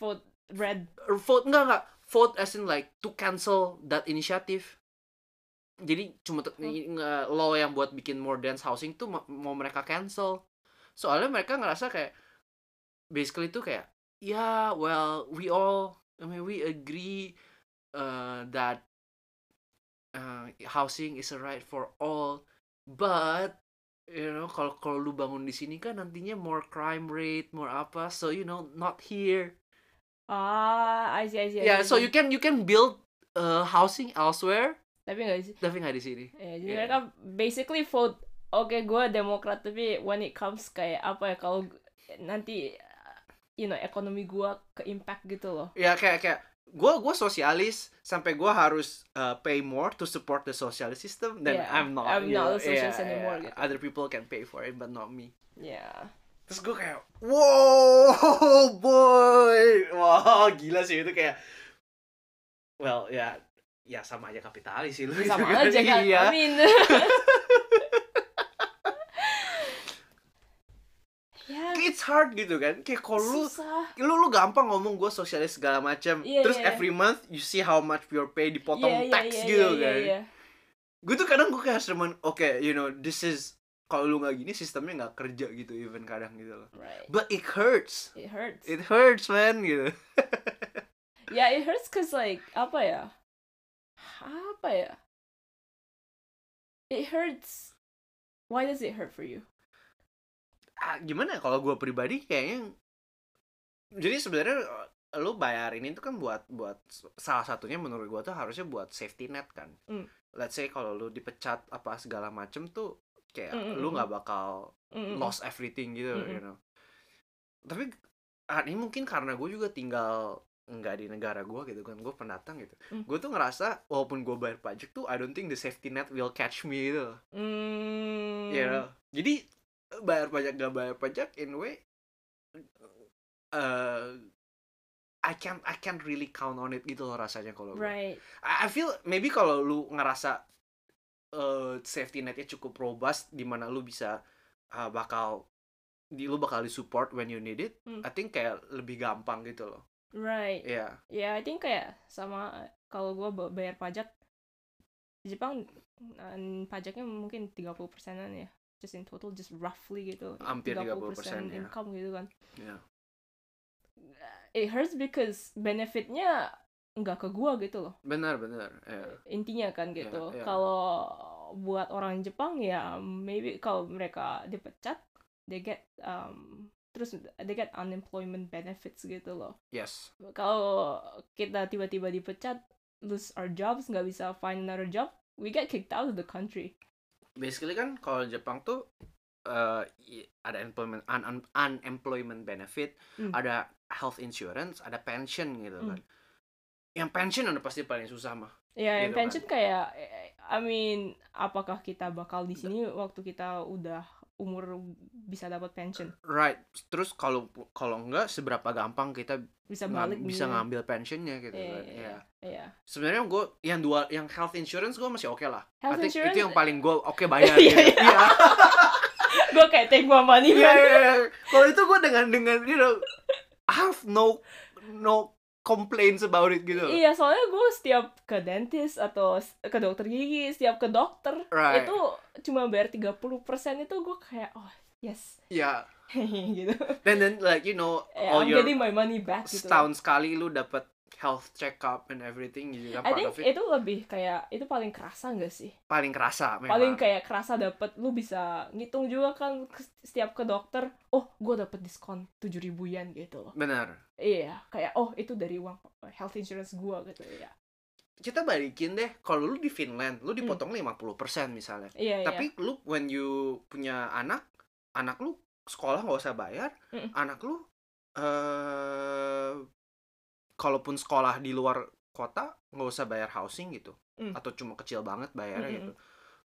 Vote red. Er, vote enggak enggak vote as in like to cancel that initiative jadi cuma te- i- nge- law yang buat bikin more dense housing tuh ma- mau mereka cancel soalnya mereka ngerasa kayak basically tuh kayak ya well we all I mean we agree uh, that uh, housing is a right for all but you know kalau kalau lu bangun di sini kan nantinya more crime rate more apa so you know not here Ah, I see, I see. I Ya, see. so you can you can build uh, housing elsewhere, Tapi nggak sih. tapi nggak di sini. Ya, jadi Yeah. mereka basically vote. Oke, gua Demokrat tapi when it comes kayak apa ya kalau gu- nanti you know ekonomi gua ke impact gitu loh. Ya kayak kayak gue gue sosialis sampai gue harus uh, pay more to support the socialist system then Yeah, I'm not I'm you not know. a socialist Yeah, anymore, yeah. gitu. other people can pay for it but not me Ya. terus gue kayak wow (laughs) boy wah gila sih itu kayak well ya ya sama aja kapitalis sih lu Sama gitu kan. aja kan. iya I (laughs) mean. (laughs) ya, it's hard gitu kan kayak kalau lu susah. lu lu gampang ngomong gue sosialis segala macam Iya, terus iya. every month you see how much your pay dipotong Iya, iya, tax iya, gitu iya, kan iya. gue tuh kadang gue kayak cuman oke you know this is kalau lu nggak gini sistemnya nggak kerja gitu even kadang gitu loh Right. but it hurts It hurts. it hurts man gitu Ya, it hurts cause like apa ya? Apa ya? It hurts. Why does it hurt for you? Ah, gimana ya, kalau gue pribadi kayaknya jadi sebenarnya eh, lu bayarin itu kan buat buat salah satunya menurut gue tuh harusnya buat safety net kan Mm. let's say kalau lu dipecat apa segala macem tuh kayak Mm, mm, lu mm. nggak bakal Mm-mm. lost everything gitu Mm-mm. you know tapi ah, ini mungkin karena gue juga tinggal nggak di negara gue gitu kan gue pendatang gitu Mm. gue tuh ngerasa walaupun gue bayar pajak tuh I don't think the safety net will catch me gitu loh, Mm. you know jadi bayar pajak gak bayar pajak in a way uh, I can't I can't really count on it gitu loh rasanya kalau gue. Right. I I feel maybe kalau lu ngerasa uh, safety netnya cukup robust di mana lu bisa uh, bakal di lu bakal disupport when you need it, Hmm. I think kayak lebih gampang gitu loh. Right. Iya. Ya, I think kayak sama kalau gua ba- bayar pajak di Jepang mm, pajaknya mungkin 30 persenan ya. Just in total just roughly gitu. Hampir 30%, ya. income gitu kan. Iya. It hurts because benefitnya nggak ke gua gitu loh. Benar, benar. Iya. intinya kan gitu. Iya, iya. Kalau buat orang Jepang ya maybe kalau mereka dipecat they get um, terus they get unemployment benefits gitu loh. Yes. Kalau kita tiba-tiba dipecat lose our jobs nggak bisa find another job we get kicked out of the country. Basically kan kalau Jepang tuh uh, i- ada employment un, un- unemployment benefit, Hmm. ada health insurance, ada pension gitu Hmm. kan. Yang pension udah pasti paling susah mah. Ya, Gitu yang kan. pension kayak I mean apakah kita bakal di sini waktu kita udah umur bisa dapat pension right terus kalau kalau enggak seberapa gampang kita bisa ngam- balik bisa ngambil ngambil pensionnya gitu Iya, kan iya, Iya. iya sebenarnya gue yang dua yang health insurance gue masih oke lah health I think insurance itu (laughs) yang paling gue oke bayar Iya, gitu. iya. iya gue kayak take my money iya man. iya, iya. kalau itu gue dengan dengan you know I have no no complaints about it gitu Iya, soalnya gue setiap ke dentist atau s- ke dokter gigi, setiap ke dokter right itu cuma bayar 30% itu gue kayak oh yes (laughs) ya gitu. then then like you know Eh, all I'm your getting my money back gitu. setahun sekali lu dapat health check up and everything gitu kan part I think of it itu lebih kayak itu paling kerasa gak sih? paling kerasa memang Paling kayak kerasa dapet lu bisa ngitung juga kan ke- setiap ke dokter, oh gue dapet diskon 7000 yen gitu loh. benar Iya, kayak oh itu dari uang health insurance gue gitu ya. kita balikin deh kalau lu di Finland lu Hmm. dipotong 50% misalnya Iya, iya. tapi lu when you punya anak anak lu sekolah nggak usah bayar Mm. anak lu eh kalaupun sekolah di luar kota nggak usah bayar housing gitu Mm. atau cuma kecil banget bayarnya Mm-mm. gitu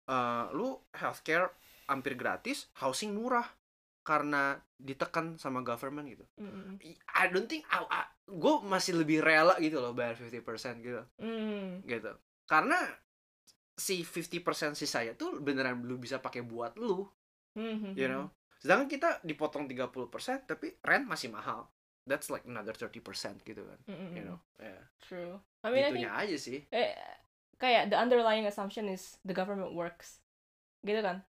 Eh, lu healthcare hampir gratis housing murah karena ditekan sama government gitu Mm, I don't think gue masih lebih rela gitu loh bayar 50% gitu mm, mm. gitu karena si 50% sisanya tuh beneran lu bisa pakai buat lu Mhm. you know sedangkan kita dipotong 30% tapi rent masih mahal that's like another 30% gitu kan Mhm. you know yeah. True. I mean, I think Itunya aja sih eh, kayak the underlying assumption is the government works, gitu kan?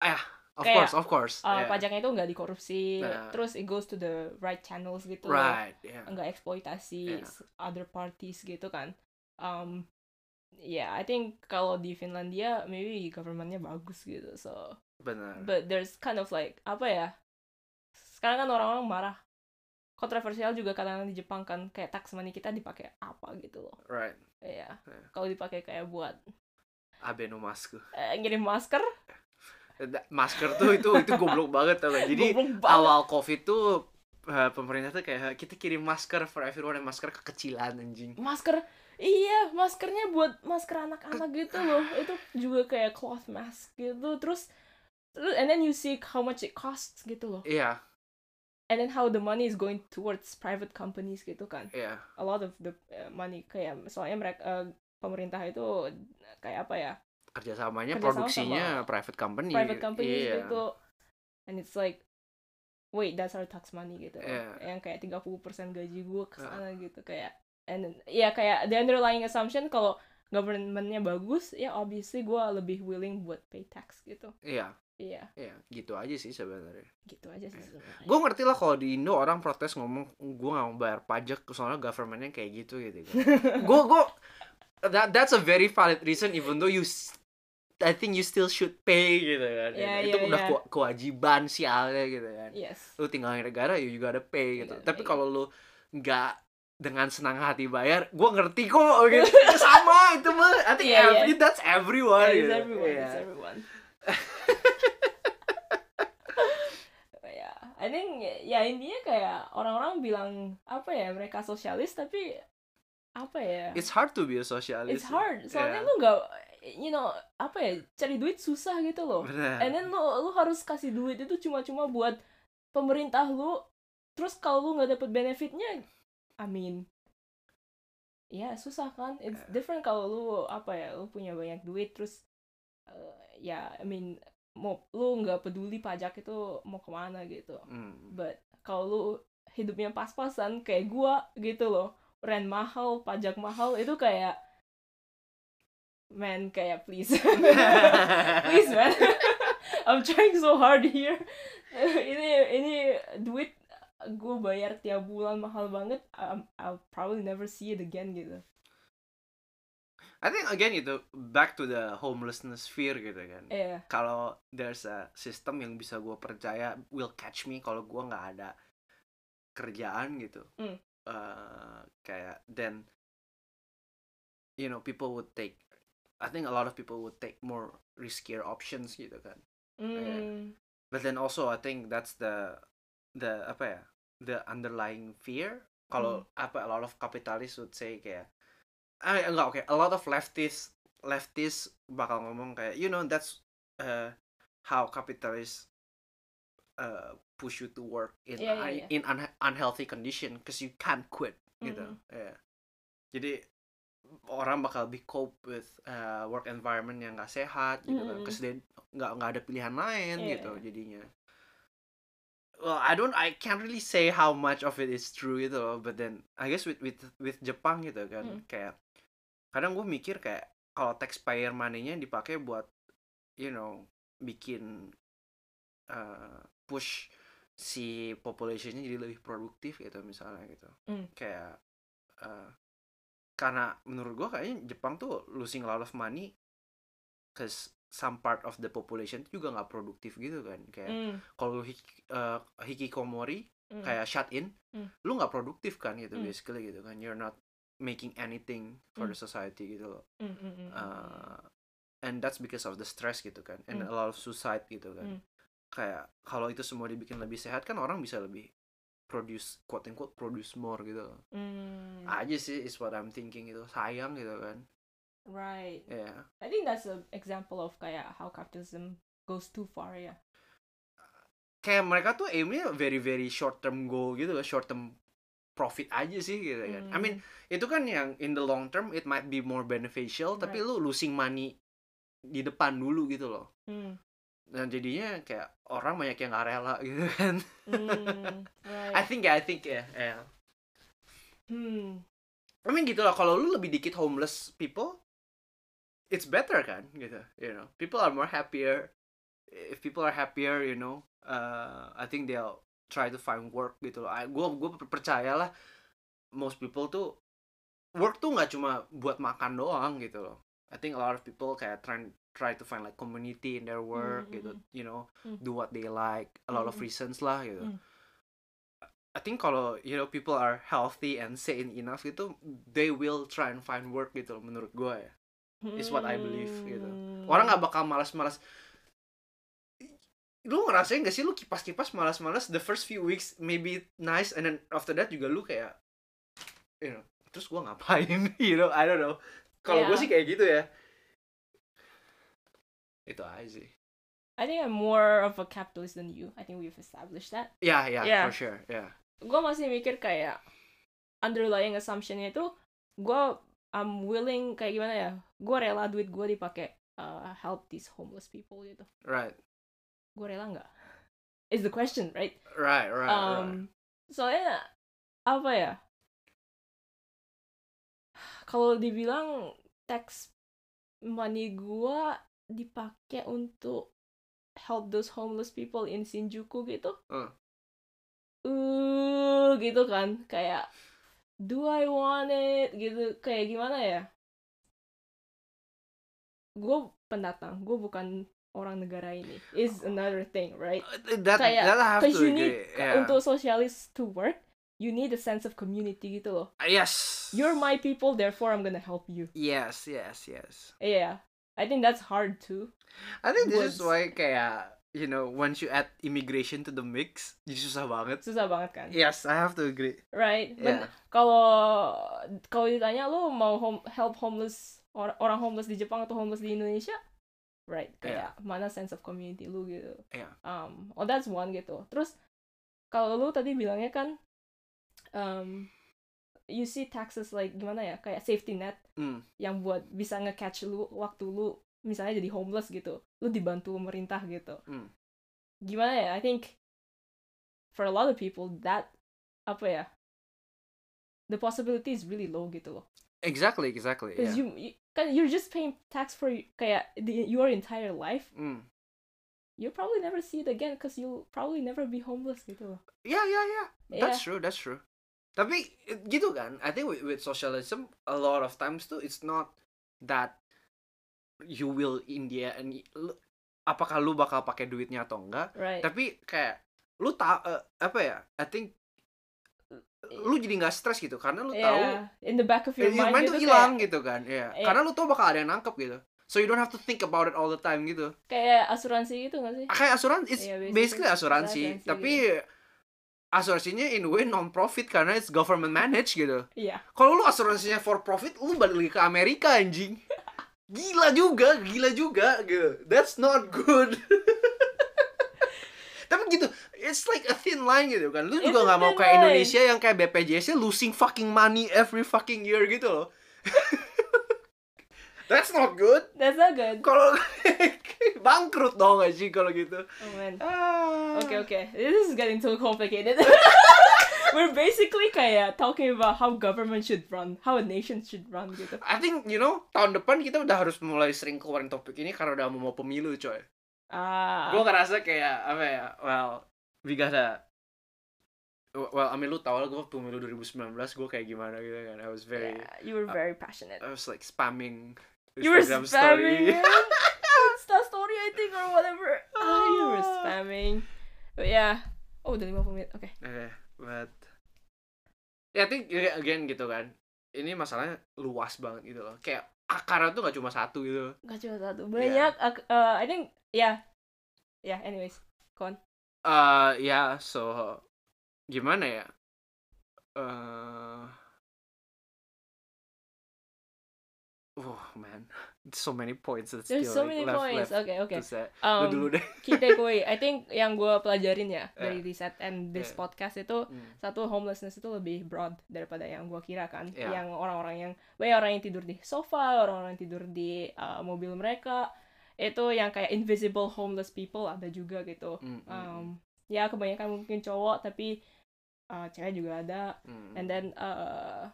of kayak, course of course Ya. Uh, yeah. Pajaknya itu nggak dikorupsi, Nah. terus it goes to the right channels gitu, right ya. yeah. nggak eksploitasi Yeah. s- other parties gitu kan? Um, yeah, I think kalau di Finlandia maybe governmentnya bagus gitu, so benar but there's kind of like apa ya? Sekarang kan orang-orang marah kontroversial juga kadang-kadang di Jepang kan kayak tax money kita dipakai apa gitu loh. right Iya. Iya. Kalau dipakai kayak buat abeno masker eh, ngirim masker, masker tuh itu itu (laughs) goblok banget tau gak jadi goblok banget. awal covid tuh eh, pemerintah tuh kayak kita kirim masker for everyone yang masker kekecilan anjing masker iya maskernya buat masker anak-anak gitu loh itu juga kayak cloth mask gitu terus terus and then you see how much it costs gitu loh iya and then how the money is going towards private companies gitu kan iya a lot of the eh, money kayak soalnya mereka eh, pemerintah itu kayak apa ya kerjasamanya Kerjasama produksinya sama private company private companies Iya. gitu and it's like wait that's our tax money gitu loh. Yeah. yang kayak 30% gaji gue ke sana gitu kayak and then- ya kayak the underlying assumption kalau governmentnya bagus ya obviously gue lebih willing buat pay tax gitu iya iya iya gitu aja sih sebenarnya gitu aja sih Yeah. sebenarnya. gue ngerti lah kalau di Indo orang protes ngomong gue nggak mau bayar pajak soalnya governmentnya kayak gitu gitu (laughs) gue gue that that's a very valid reason even though you s- I think you still should pay gitu kan Yeah, itu yeah, udah yeah. kewa- kewajiban sialnya gitu kan yes lu tinggal di negara you juga ada pay gitu You gotta tapi pay. kalau lu nggak dengan senang hati bayar gue ngerti (laughs) kok gitu sama itu mah I think Yeah, every- that's everyone gitu. it's iya. everyone Yeah. it's (laughs) everyone But yeah, Iya, I think ya intinya kayak orang-orang bilang apa ya mereka sosialis tapi apa ya It's hard to be a socialist. it's hard soalnya Yeah. lu nggak you know apa ya cari duit susah gitu loh Bener. and then lu lu harus kasih duit itu cuma-cuma buat pemerintah lu terus kalau lu nggak dapet benefitnya I mean ya susah kan it's different kalau lu apa ya lu punya banyak duit terus eh, ya I mean mau lu nggak peduli pajak itu mau kemana gitu Hmm. (laughs) but kalau lu hidupnya pas-pasan kayak gua gitu loh rent mahal pajak mahal itu kayak man kayak (laughs) please please man (laughs) I'm trying so hard here (laughs) ini ini duit gue bayar tiap bulan mahal banget I'm- I'll probably never see it again gitu I think again gitu back to the homelessness fear gitu kan. eh Kalau there's a system yang bisa gue percaya will catch me kalau gue nggak ada kerjaan gitu. Hmm. Eh, kayak then you know people would take I think a lot of people would take more riskier options gitu kan. mm, But then also I think that's the the apa ya the underlying fear kalau Hmm. apa a lot of capitalists would say kayak ah enggak oke a lot of leftists leftists bakal ngomong kayak you know that's uh, how capitalists uh, push you to work in Yeah, yeah, un- yeah. in un- unhealthy condition because you can't quit gitu Mm. ya jadi orang bakal be cope with uh, work environment yang nggak sehat gitu kan Mm. because they nggak nggak ada pilihan lain Iya, gitu iya. jadinya well I don't I can't really say how much of it is true gitu loh but then I guess with with with Jepang gitu kan Mm. kayak kadang gue mikir kayak kalau taxpayer money-nya dipakai buat you know bikin uh, push si populationnya jadi lebih produktif gitu misalnya gitu Mm. kayak uh, karena menurut gua kayaknya Jepang tuh losing a lot of money cause some part of the population tuh juga nggak produktif gitu kan kayak Mm, kalau hik- uh, hikikomori mm, kayak shut in Mm. lu nggak produktif kan gitu Mm. basically gitu kan you're not making anything for the society gitu loh mm, mm, mm, mm. Uh, and that's because of the stress gitu kan and Mm. a lot of suicide gitu kan Mm. kayak kalau itu semua dibikin lebih sehat kan orang bisa lebih produce quote unquote produce more gitu loh. Mm, aja sih is what I'm thinking gitu sayang gitu kan right ya I think that's an example of kayak how capitalism goes too far ya kayak mereka tuh aimnya very very short term goal gitu loh, short term profit aja sih gitu kan Hmm. Mm. I mean itu kan yang in the long term it might be more beneficial tapi lu losing money di depan dulu gitu loh Mm, dan jadinya kayak orang banyak yang nggak rela gitu kan mm, (laughs) I right think ya, I think ya. ya. Hmm, I mean gitu lah, kalau lu lebih dikit homeless people, it's better kan, gitu. You know, people are more happier. If people are happier, you know, uh, I think they'll try to find work gitu loh. I- Gua gue percayalah most people tuh work tuh nggak cuma buat makan doang gitu loh. I think a lot of people kayak try try to find like community in their work Mm, mm, gitu, you know, Mm. do what they like, a lot of Mm, mm. reasons lah gitu. Mm. I think kalau you know people are healthy and sane enough gitu, they will try and find work gitu loh, menurut gue ya. It's what I believe, gitu. Hmm. Orang nggak bakal malas-malas. Lu ngerasain gak sih lu kipas-kipas malas-malas the first few weeks maybe nice and then after that juga lu kayak you know, terus gua ngapain (laughs) you know, I don't know. Kalau gue Yeah. sih kayak gitu ya. Itu aja sih. I think I'm more of a capitalist than you. I think we've established that. Ya, ya, Yeah. for sure, ya. Gue masih mikir kayak underlying assumptionnya itu gue I'm willing kayak gimana ya? Gue rela duit gue dipakai uh, help these homeless people gitu. Right. Gue rela nggak? Is the question, right? Right, right, right. um, soalnya apa ya? Kalau dibilang tax money gua dipakai untuk help those homeless people in Shinjuku gitu. Hmm. Uh, gitu kan kayak do I want it gitu kayak gimana ya? Gue pendatang, gue bukan orang negara ini. Is another thing, right? That, kayak, that I have Cause to you agree. need yeah. untuk socialist to work, you need a sense of community gitu loh. Ah, Yes. You're my people, therefore I'm gonna help you. Yes, yes, yes. Yeah, I think that's hard too. I think this is Woods. why kayak you know once you add immigration to the mix, jadi susah banget. Susah banget kan, Yes, I have to agree. right? Yeah. But kalau kalau ditanya lo mau hom- help homeless or- orang homeless di Jepang atau homeless di Indonesia, right? Kayak mana sense of community lu gitu. Yeah. Um, oh that's one gitu. Terus kalau lu tadi bilangnya kan, um, you see taxes like gimana ya? Kayak safety net. Mm. yang buat bisa nge-catch lu waktu lu misalnya jadi homeless gitu lu dibantu pemerintah gitu Hmm. gimana ya I think for a lot of people that apa ya the possibility is really low gitu loh Exactly, exactly. because Yeah. you, you kan you're just paying tax for kayak the, your entire life Mm. you probably never see it again because you'll probably never be homeless gitu loh Yeah, yeah, yeah. That's Yeah. true, that's true. Tapi eh, gitu kan, I think with, with socialism a lot of times too it's not that you will India and apakah lu bakal pakai duitnya atau enggak, right tapi kayak lu tak apa ya? I think lu jadi nggak stres gitu karena lu tahu yeah in the back of your Your Iya, mind, mind tuh gitu hilang kayak, gitu kan, ya. Iya. Karena lu tau bakal ada yang nangkep gitu. So you don't have to think about it all the time gitu. Ah, kayak asuransi gitu gak sih Kayak asuransi, it's Iya, basically, basically asuransi, asuransi iya. tapi asuransinya in a way non profit karena it's government managed gitu. iya Kalau lu asuransinya for profit, lu balik lagi ke Amerika anjing. Gila juga, gila juga gitu. That's not good. (laughs) tapi gitu it's like a thin line gitu kan lu It's juga a nggak mau thin kayak line. Indonesia yang kayak BPJS nya losing fucking money every fucking year gitu loh (laughs) that's not good That's not good. kalau (laughs) bangkrut dong aja kalau gitu Oh man. ah. Okay, okay. This is getting too (laughs) complicated. We're basically kayak talking about how government should run, how a nation should run gitu. I think you know tahun depan kita udah harus mulai sering keluarin topik ini karena udah mau mau pemilu coy Ah. gue ngerasa kayak apa ya well we gotta well I mean lu tau lah gue pemilu 2019 gue kayak gimana gitu kan I was very Yeah, you were very passionate. I was like spamming You were Instagram spamming. story right? Insta story, I think, or whatever. Ah, you were spamming. But yeah. Oh, udah 50 menit. Oke. (laughs) Eh, but ya I think ya, again gitu kan ini masalahnya luas banget gitu loh kayak akarnya tuh gak cuma satu gitu Gak cuma satu. Banyak. ak- uh, I think, yeah. Yeah, anyways. eh ya so gimana ya eh oh man so many points that There's so still many like, left, points. left Oke, oke. to say. Lu Um, dulu deh key takeaway, I think yang gue pelajarin ya (laughs) dari Yeah. riset and this Yeah. podcast itu Hmm. satu homelessness itu lebih broad daripada yang gue kira kan, Yeah. yang orang-orang yang banyak orang yang tidur di sofa, orang-orang yang tidur di uh, mobil mereka, itu yang kayak invisible homeless people ada juga gitu. Hmm, hmm, Um, ya kebanyakan mungkin cowok tapi uh, cewek juga ada. hmm. And then uh,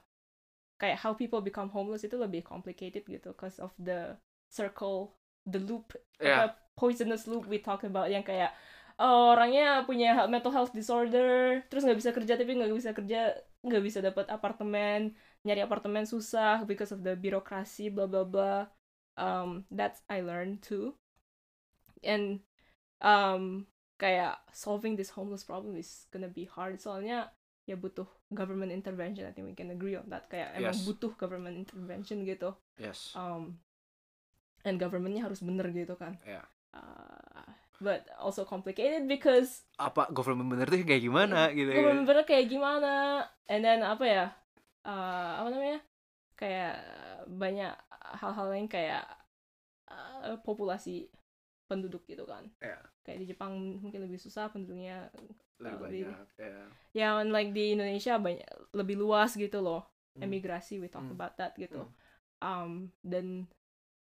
kayak how people become homeless itu lebih complicated gitu, cause of the circle, the loop ya apa, poisonous loop we talk about yang kayak oh, orangnya punya he- mental health disorder terus nggak bisa kerja tapi nggak bisa kerja nggak bisa dapat apartemen nyari apartemen susah because of the birokrasi bla bla bla um, that's I learned too and um, kayak solving this homeless problem is gonna be hard soalnya ya butuh government intervention I think we can agree on that kayak emang Yes. butuh government intervention gitu yes um, and governmentnya harus bener gitu kan. Yeah. Uh, but also complicated because apa government bener tuh kayak gimana Iya, gitu ya government bener kayak gimana, and then apa ya, uh, apa namanya, kayak banyak hal-hal lain kayak uh, populasi penduduk gitu kan. Yeah. Kayak di Jepang mungkin lebih susah penduduknya. lebih lebih- banyak ya Ya, and like di Indonesia banyak lebih luas gitu loh. Hmm. emigrasi we talk Hmm. about that gitu Hmm. um dan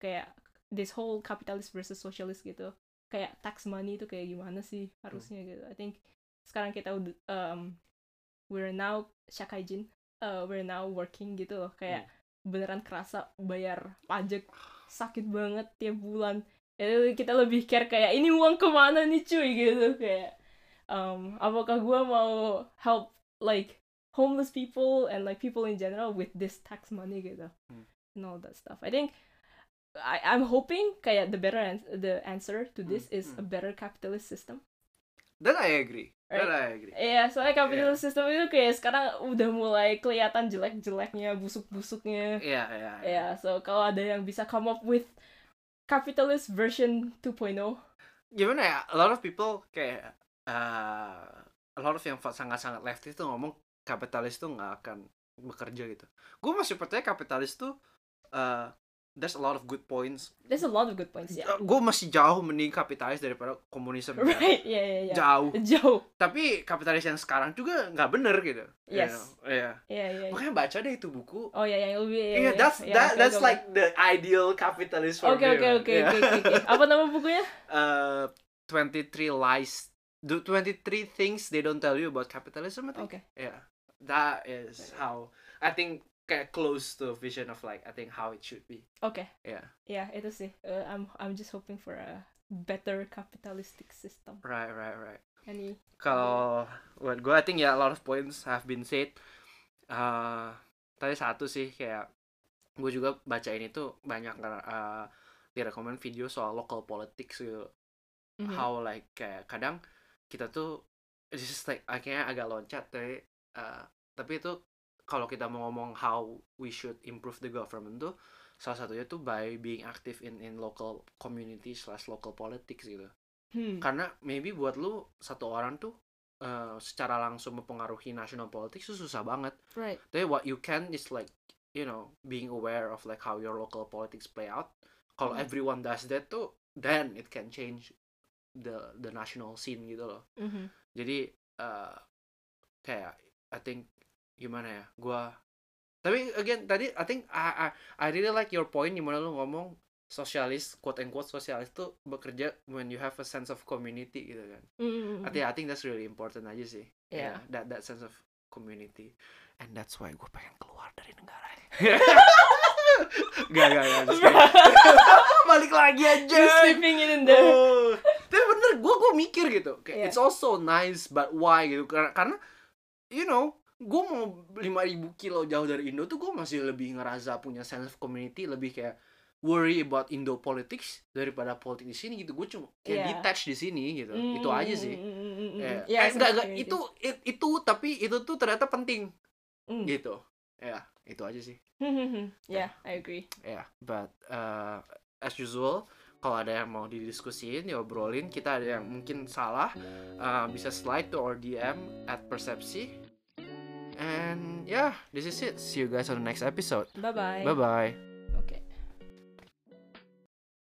kayak this whole capitalist versus socialist gitu kayak tax money itu kayak Hmm. gimana sih harusnya gitu I think sekarang kita ud- um we're now shakaijin uh, we're now working gitu loh kayak beneran kerasa bayar pajak sakit banget tiap bulan jadi kita lebih care kayak ini uang kemana nih cuy gitu kayak um, apakah gue mau help like homeless people and like people in general with this tax money gitu Hmm. and all that stuff I think I I'm hoping kayak the better ans the answer to this Hmm, is a better capitalist system dan I agree dan Right. I agree Iya, soalnya capitalist system itu kayak sekarang udah mulai kelihatan jelek-jeleknya, busuk-busuknya. ya ya ya Ya, so kalau ada yang bisa come up with capitalist version oh, 2.0. gimana ya a lot of people kayak eh, a lot of yang fa- sangat-sangat leftis tuh ngomong kapitalis tuh nggak akan bekerja gitu gue masih percaya kapitalis tuh eh, there's a lot of good points There's a lot of good (laughs) points, yeah. gue masih jauh mending kapitalis daripada (laughs) komunisme Right, yeah, yeah, yeah. jauh Jauh. tapi kapitalis yang sekarang juga nggak bener gitu ya Yes. Iya. Yeah, yeah. yeah. makanya baca deh itu buku Oh, yeah, yeah, it'll be- yeah, Iya, yeah, that's yeah, that okay, that's go back. like the ideal capitalist for Oke, me. man. oke, Iya. oke, Yeah. oke, oke, (laughs) oke. Apa nama bukunya? Uh, 23 lies the 23 things they don't tell you about capitalism I think Oke. yeah that is how I think kayak close to vision of like I think how it should be Oke. Yeah. Yeah, itu sih. Uh, I'm I'm just hoping for a better capitalistic system. right right right Any kalau buat gue I think ya a lot of points have been said Uh, tadi satu sih kayak gue juga bacain itu banyak uh, direkomend video soal local politics gitu Mhm. how like kayak kadang kita tuh this is like akhirnya agak loncat tapi uh, tapi itu kalau kita mau ngomong how we should improve the government tuh salah satunya tuh by being active in in local community slash local politics gitu Hmm. karena maybe buat lu satu orang tuh uh, secara langsung mempengaruhi national politics tuh susah banget Right. tapi what you can is like you know being aware of like how your local politics play out kalau Hmm. everyone does that tuh then it can change the the national scene gitu loh Mhm. jadi eh, kayak I think gimana ya gua tapi again tadi I think I I, I really like your point dimana lu ngomong sosialis quote and quote sosialis tuh bekerja when you have a sense of community gitu kan Mhm. I think I think that's really important aja sih Yeah. Yeah, Ya, that that sense of community and that's why gue pengen keluar dari negara ini gak gak gak just kidding. (laughs) balik lagi aja (laughs) You're sleeping in the Oh. Tapi bener, gue gue mikir gitu. Kayak Iya. it's also nice, but why gitu? Karena, karena you know, gue mau 5000 kilo jauh dari Indo tuh gue masih lebih ngerasa punya sense of community, lebih kayak worry about Indo politics daripada politik di sini gitu. Gue cuma kayak Iya. detached di sini gitu. Mm, Itu aja sih. mm, mm, mm, mm, Ya. mm. Yeah, eh, enggak, sense enggak, of itu it- itu tapi itu tuh ternyata penting Mm. gitu. Ya, itu aja sih. community. (laughs) yeah, I agree. Ya, but uh, as usual, kalau ada yang mau didiskusiin, diobrolin, kita ada yang mungkin salah, uh, bisa slide to our DM at Persepsi. And yeah, this is it. See you guys on the next episode. Bye bye. Bye bye.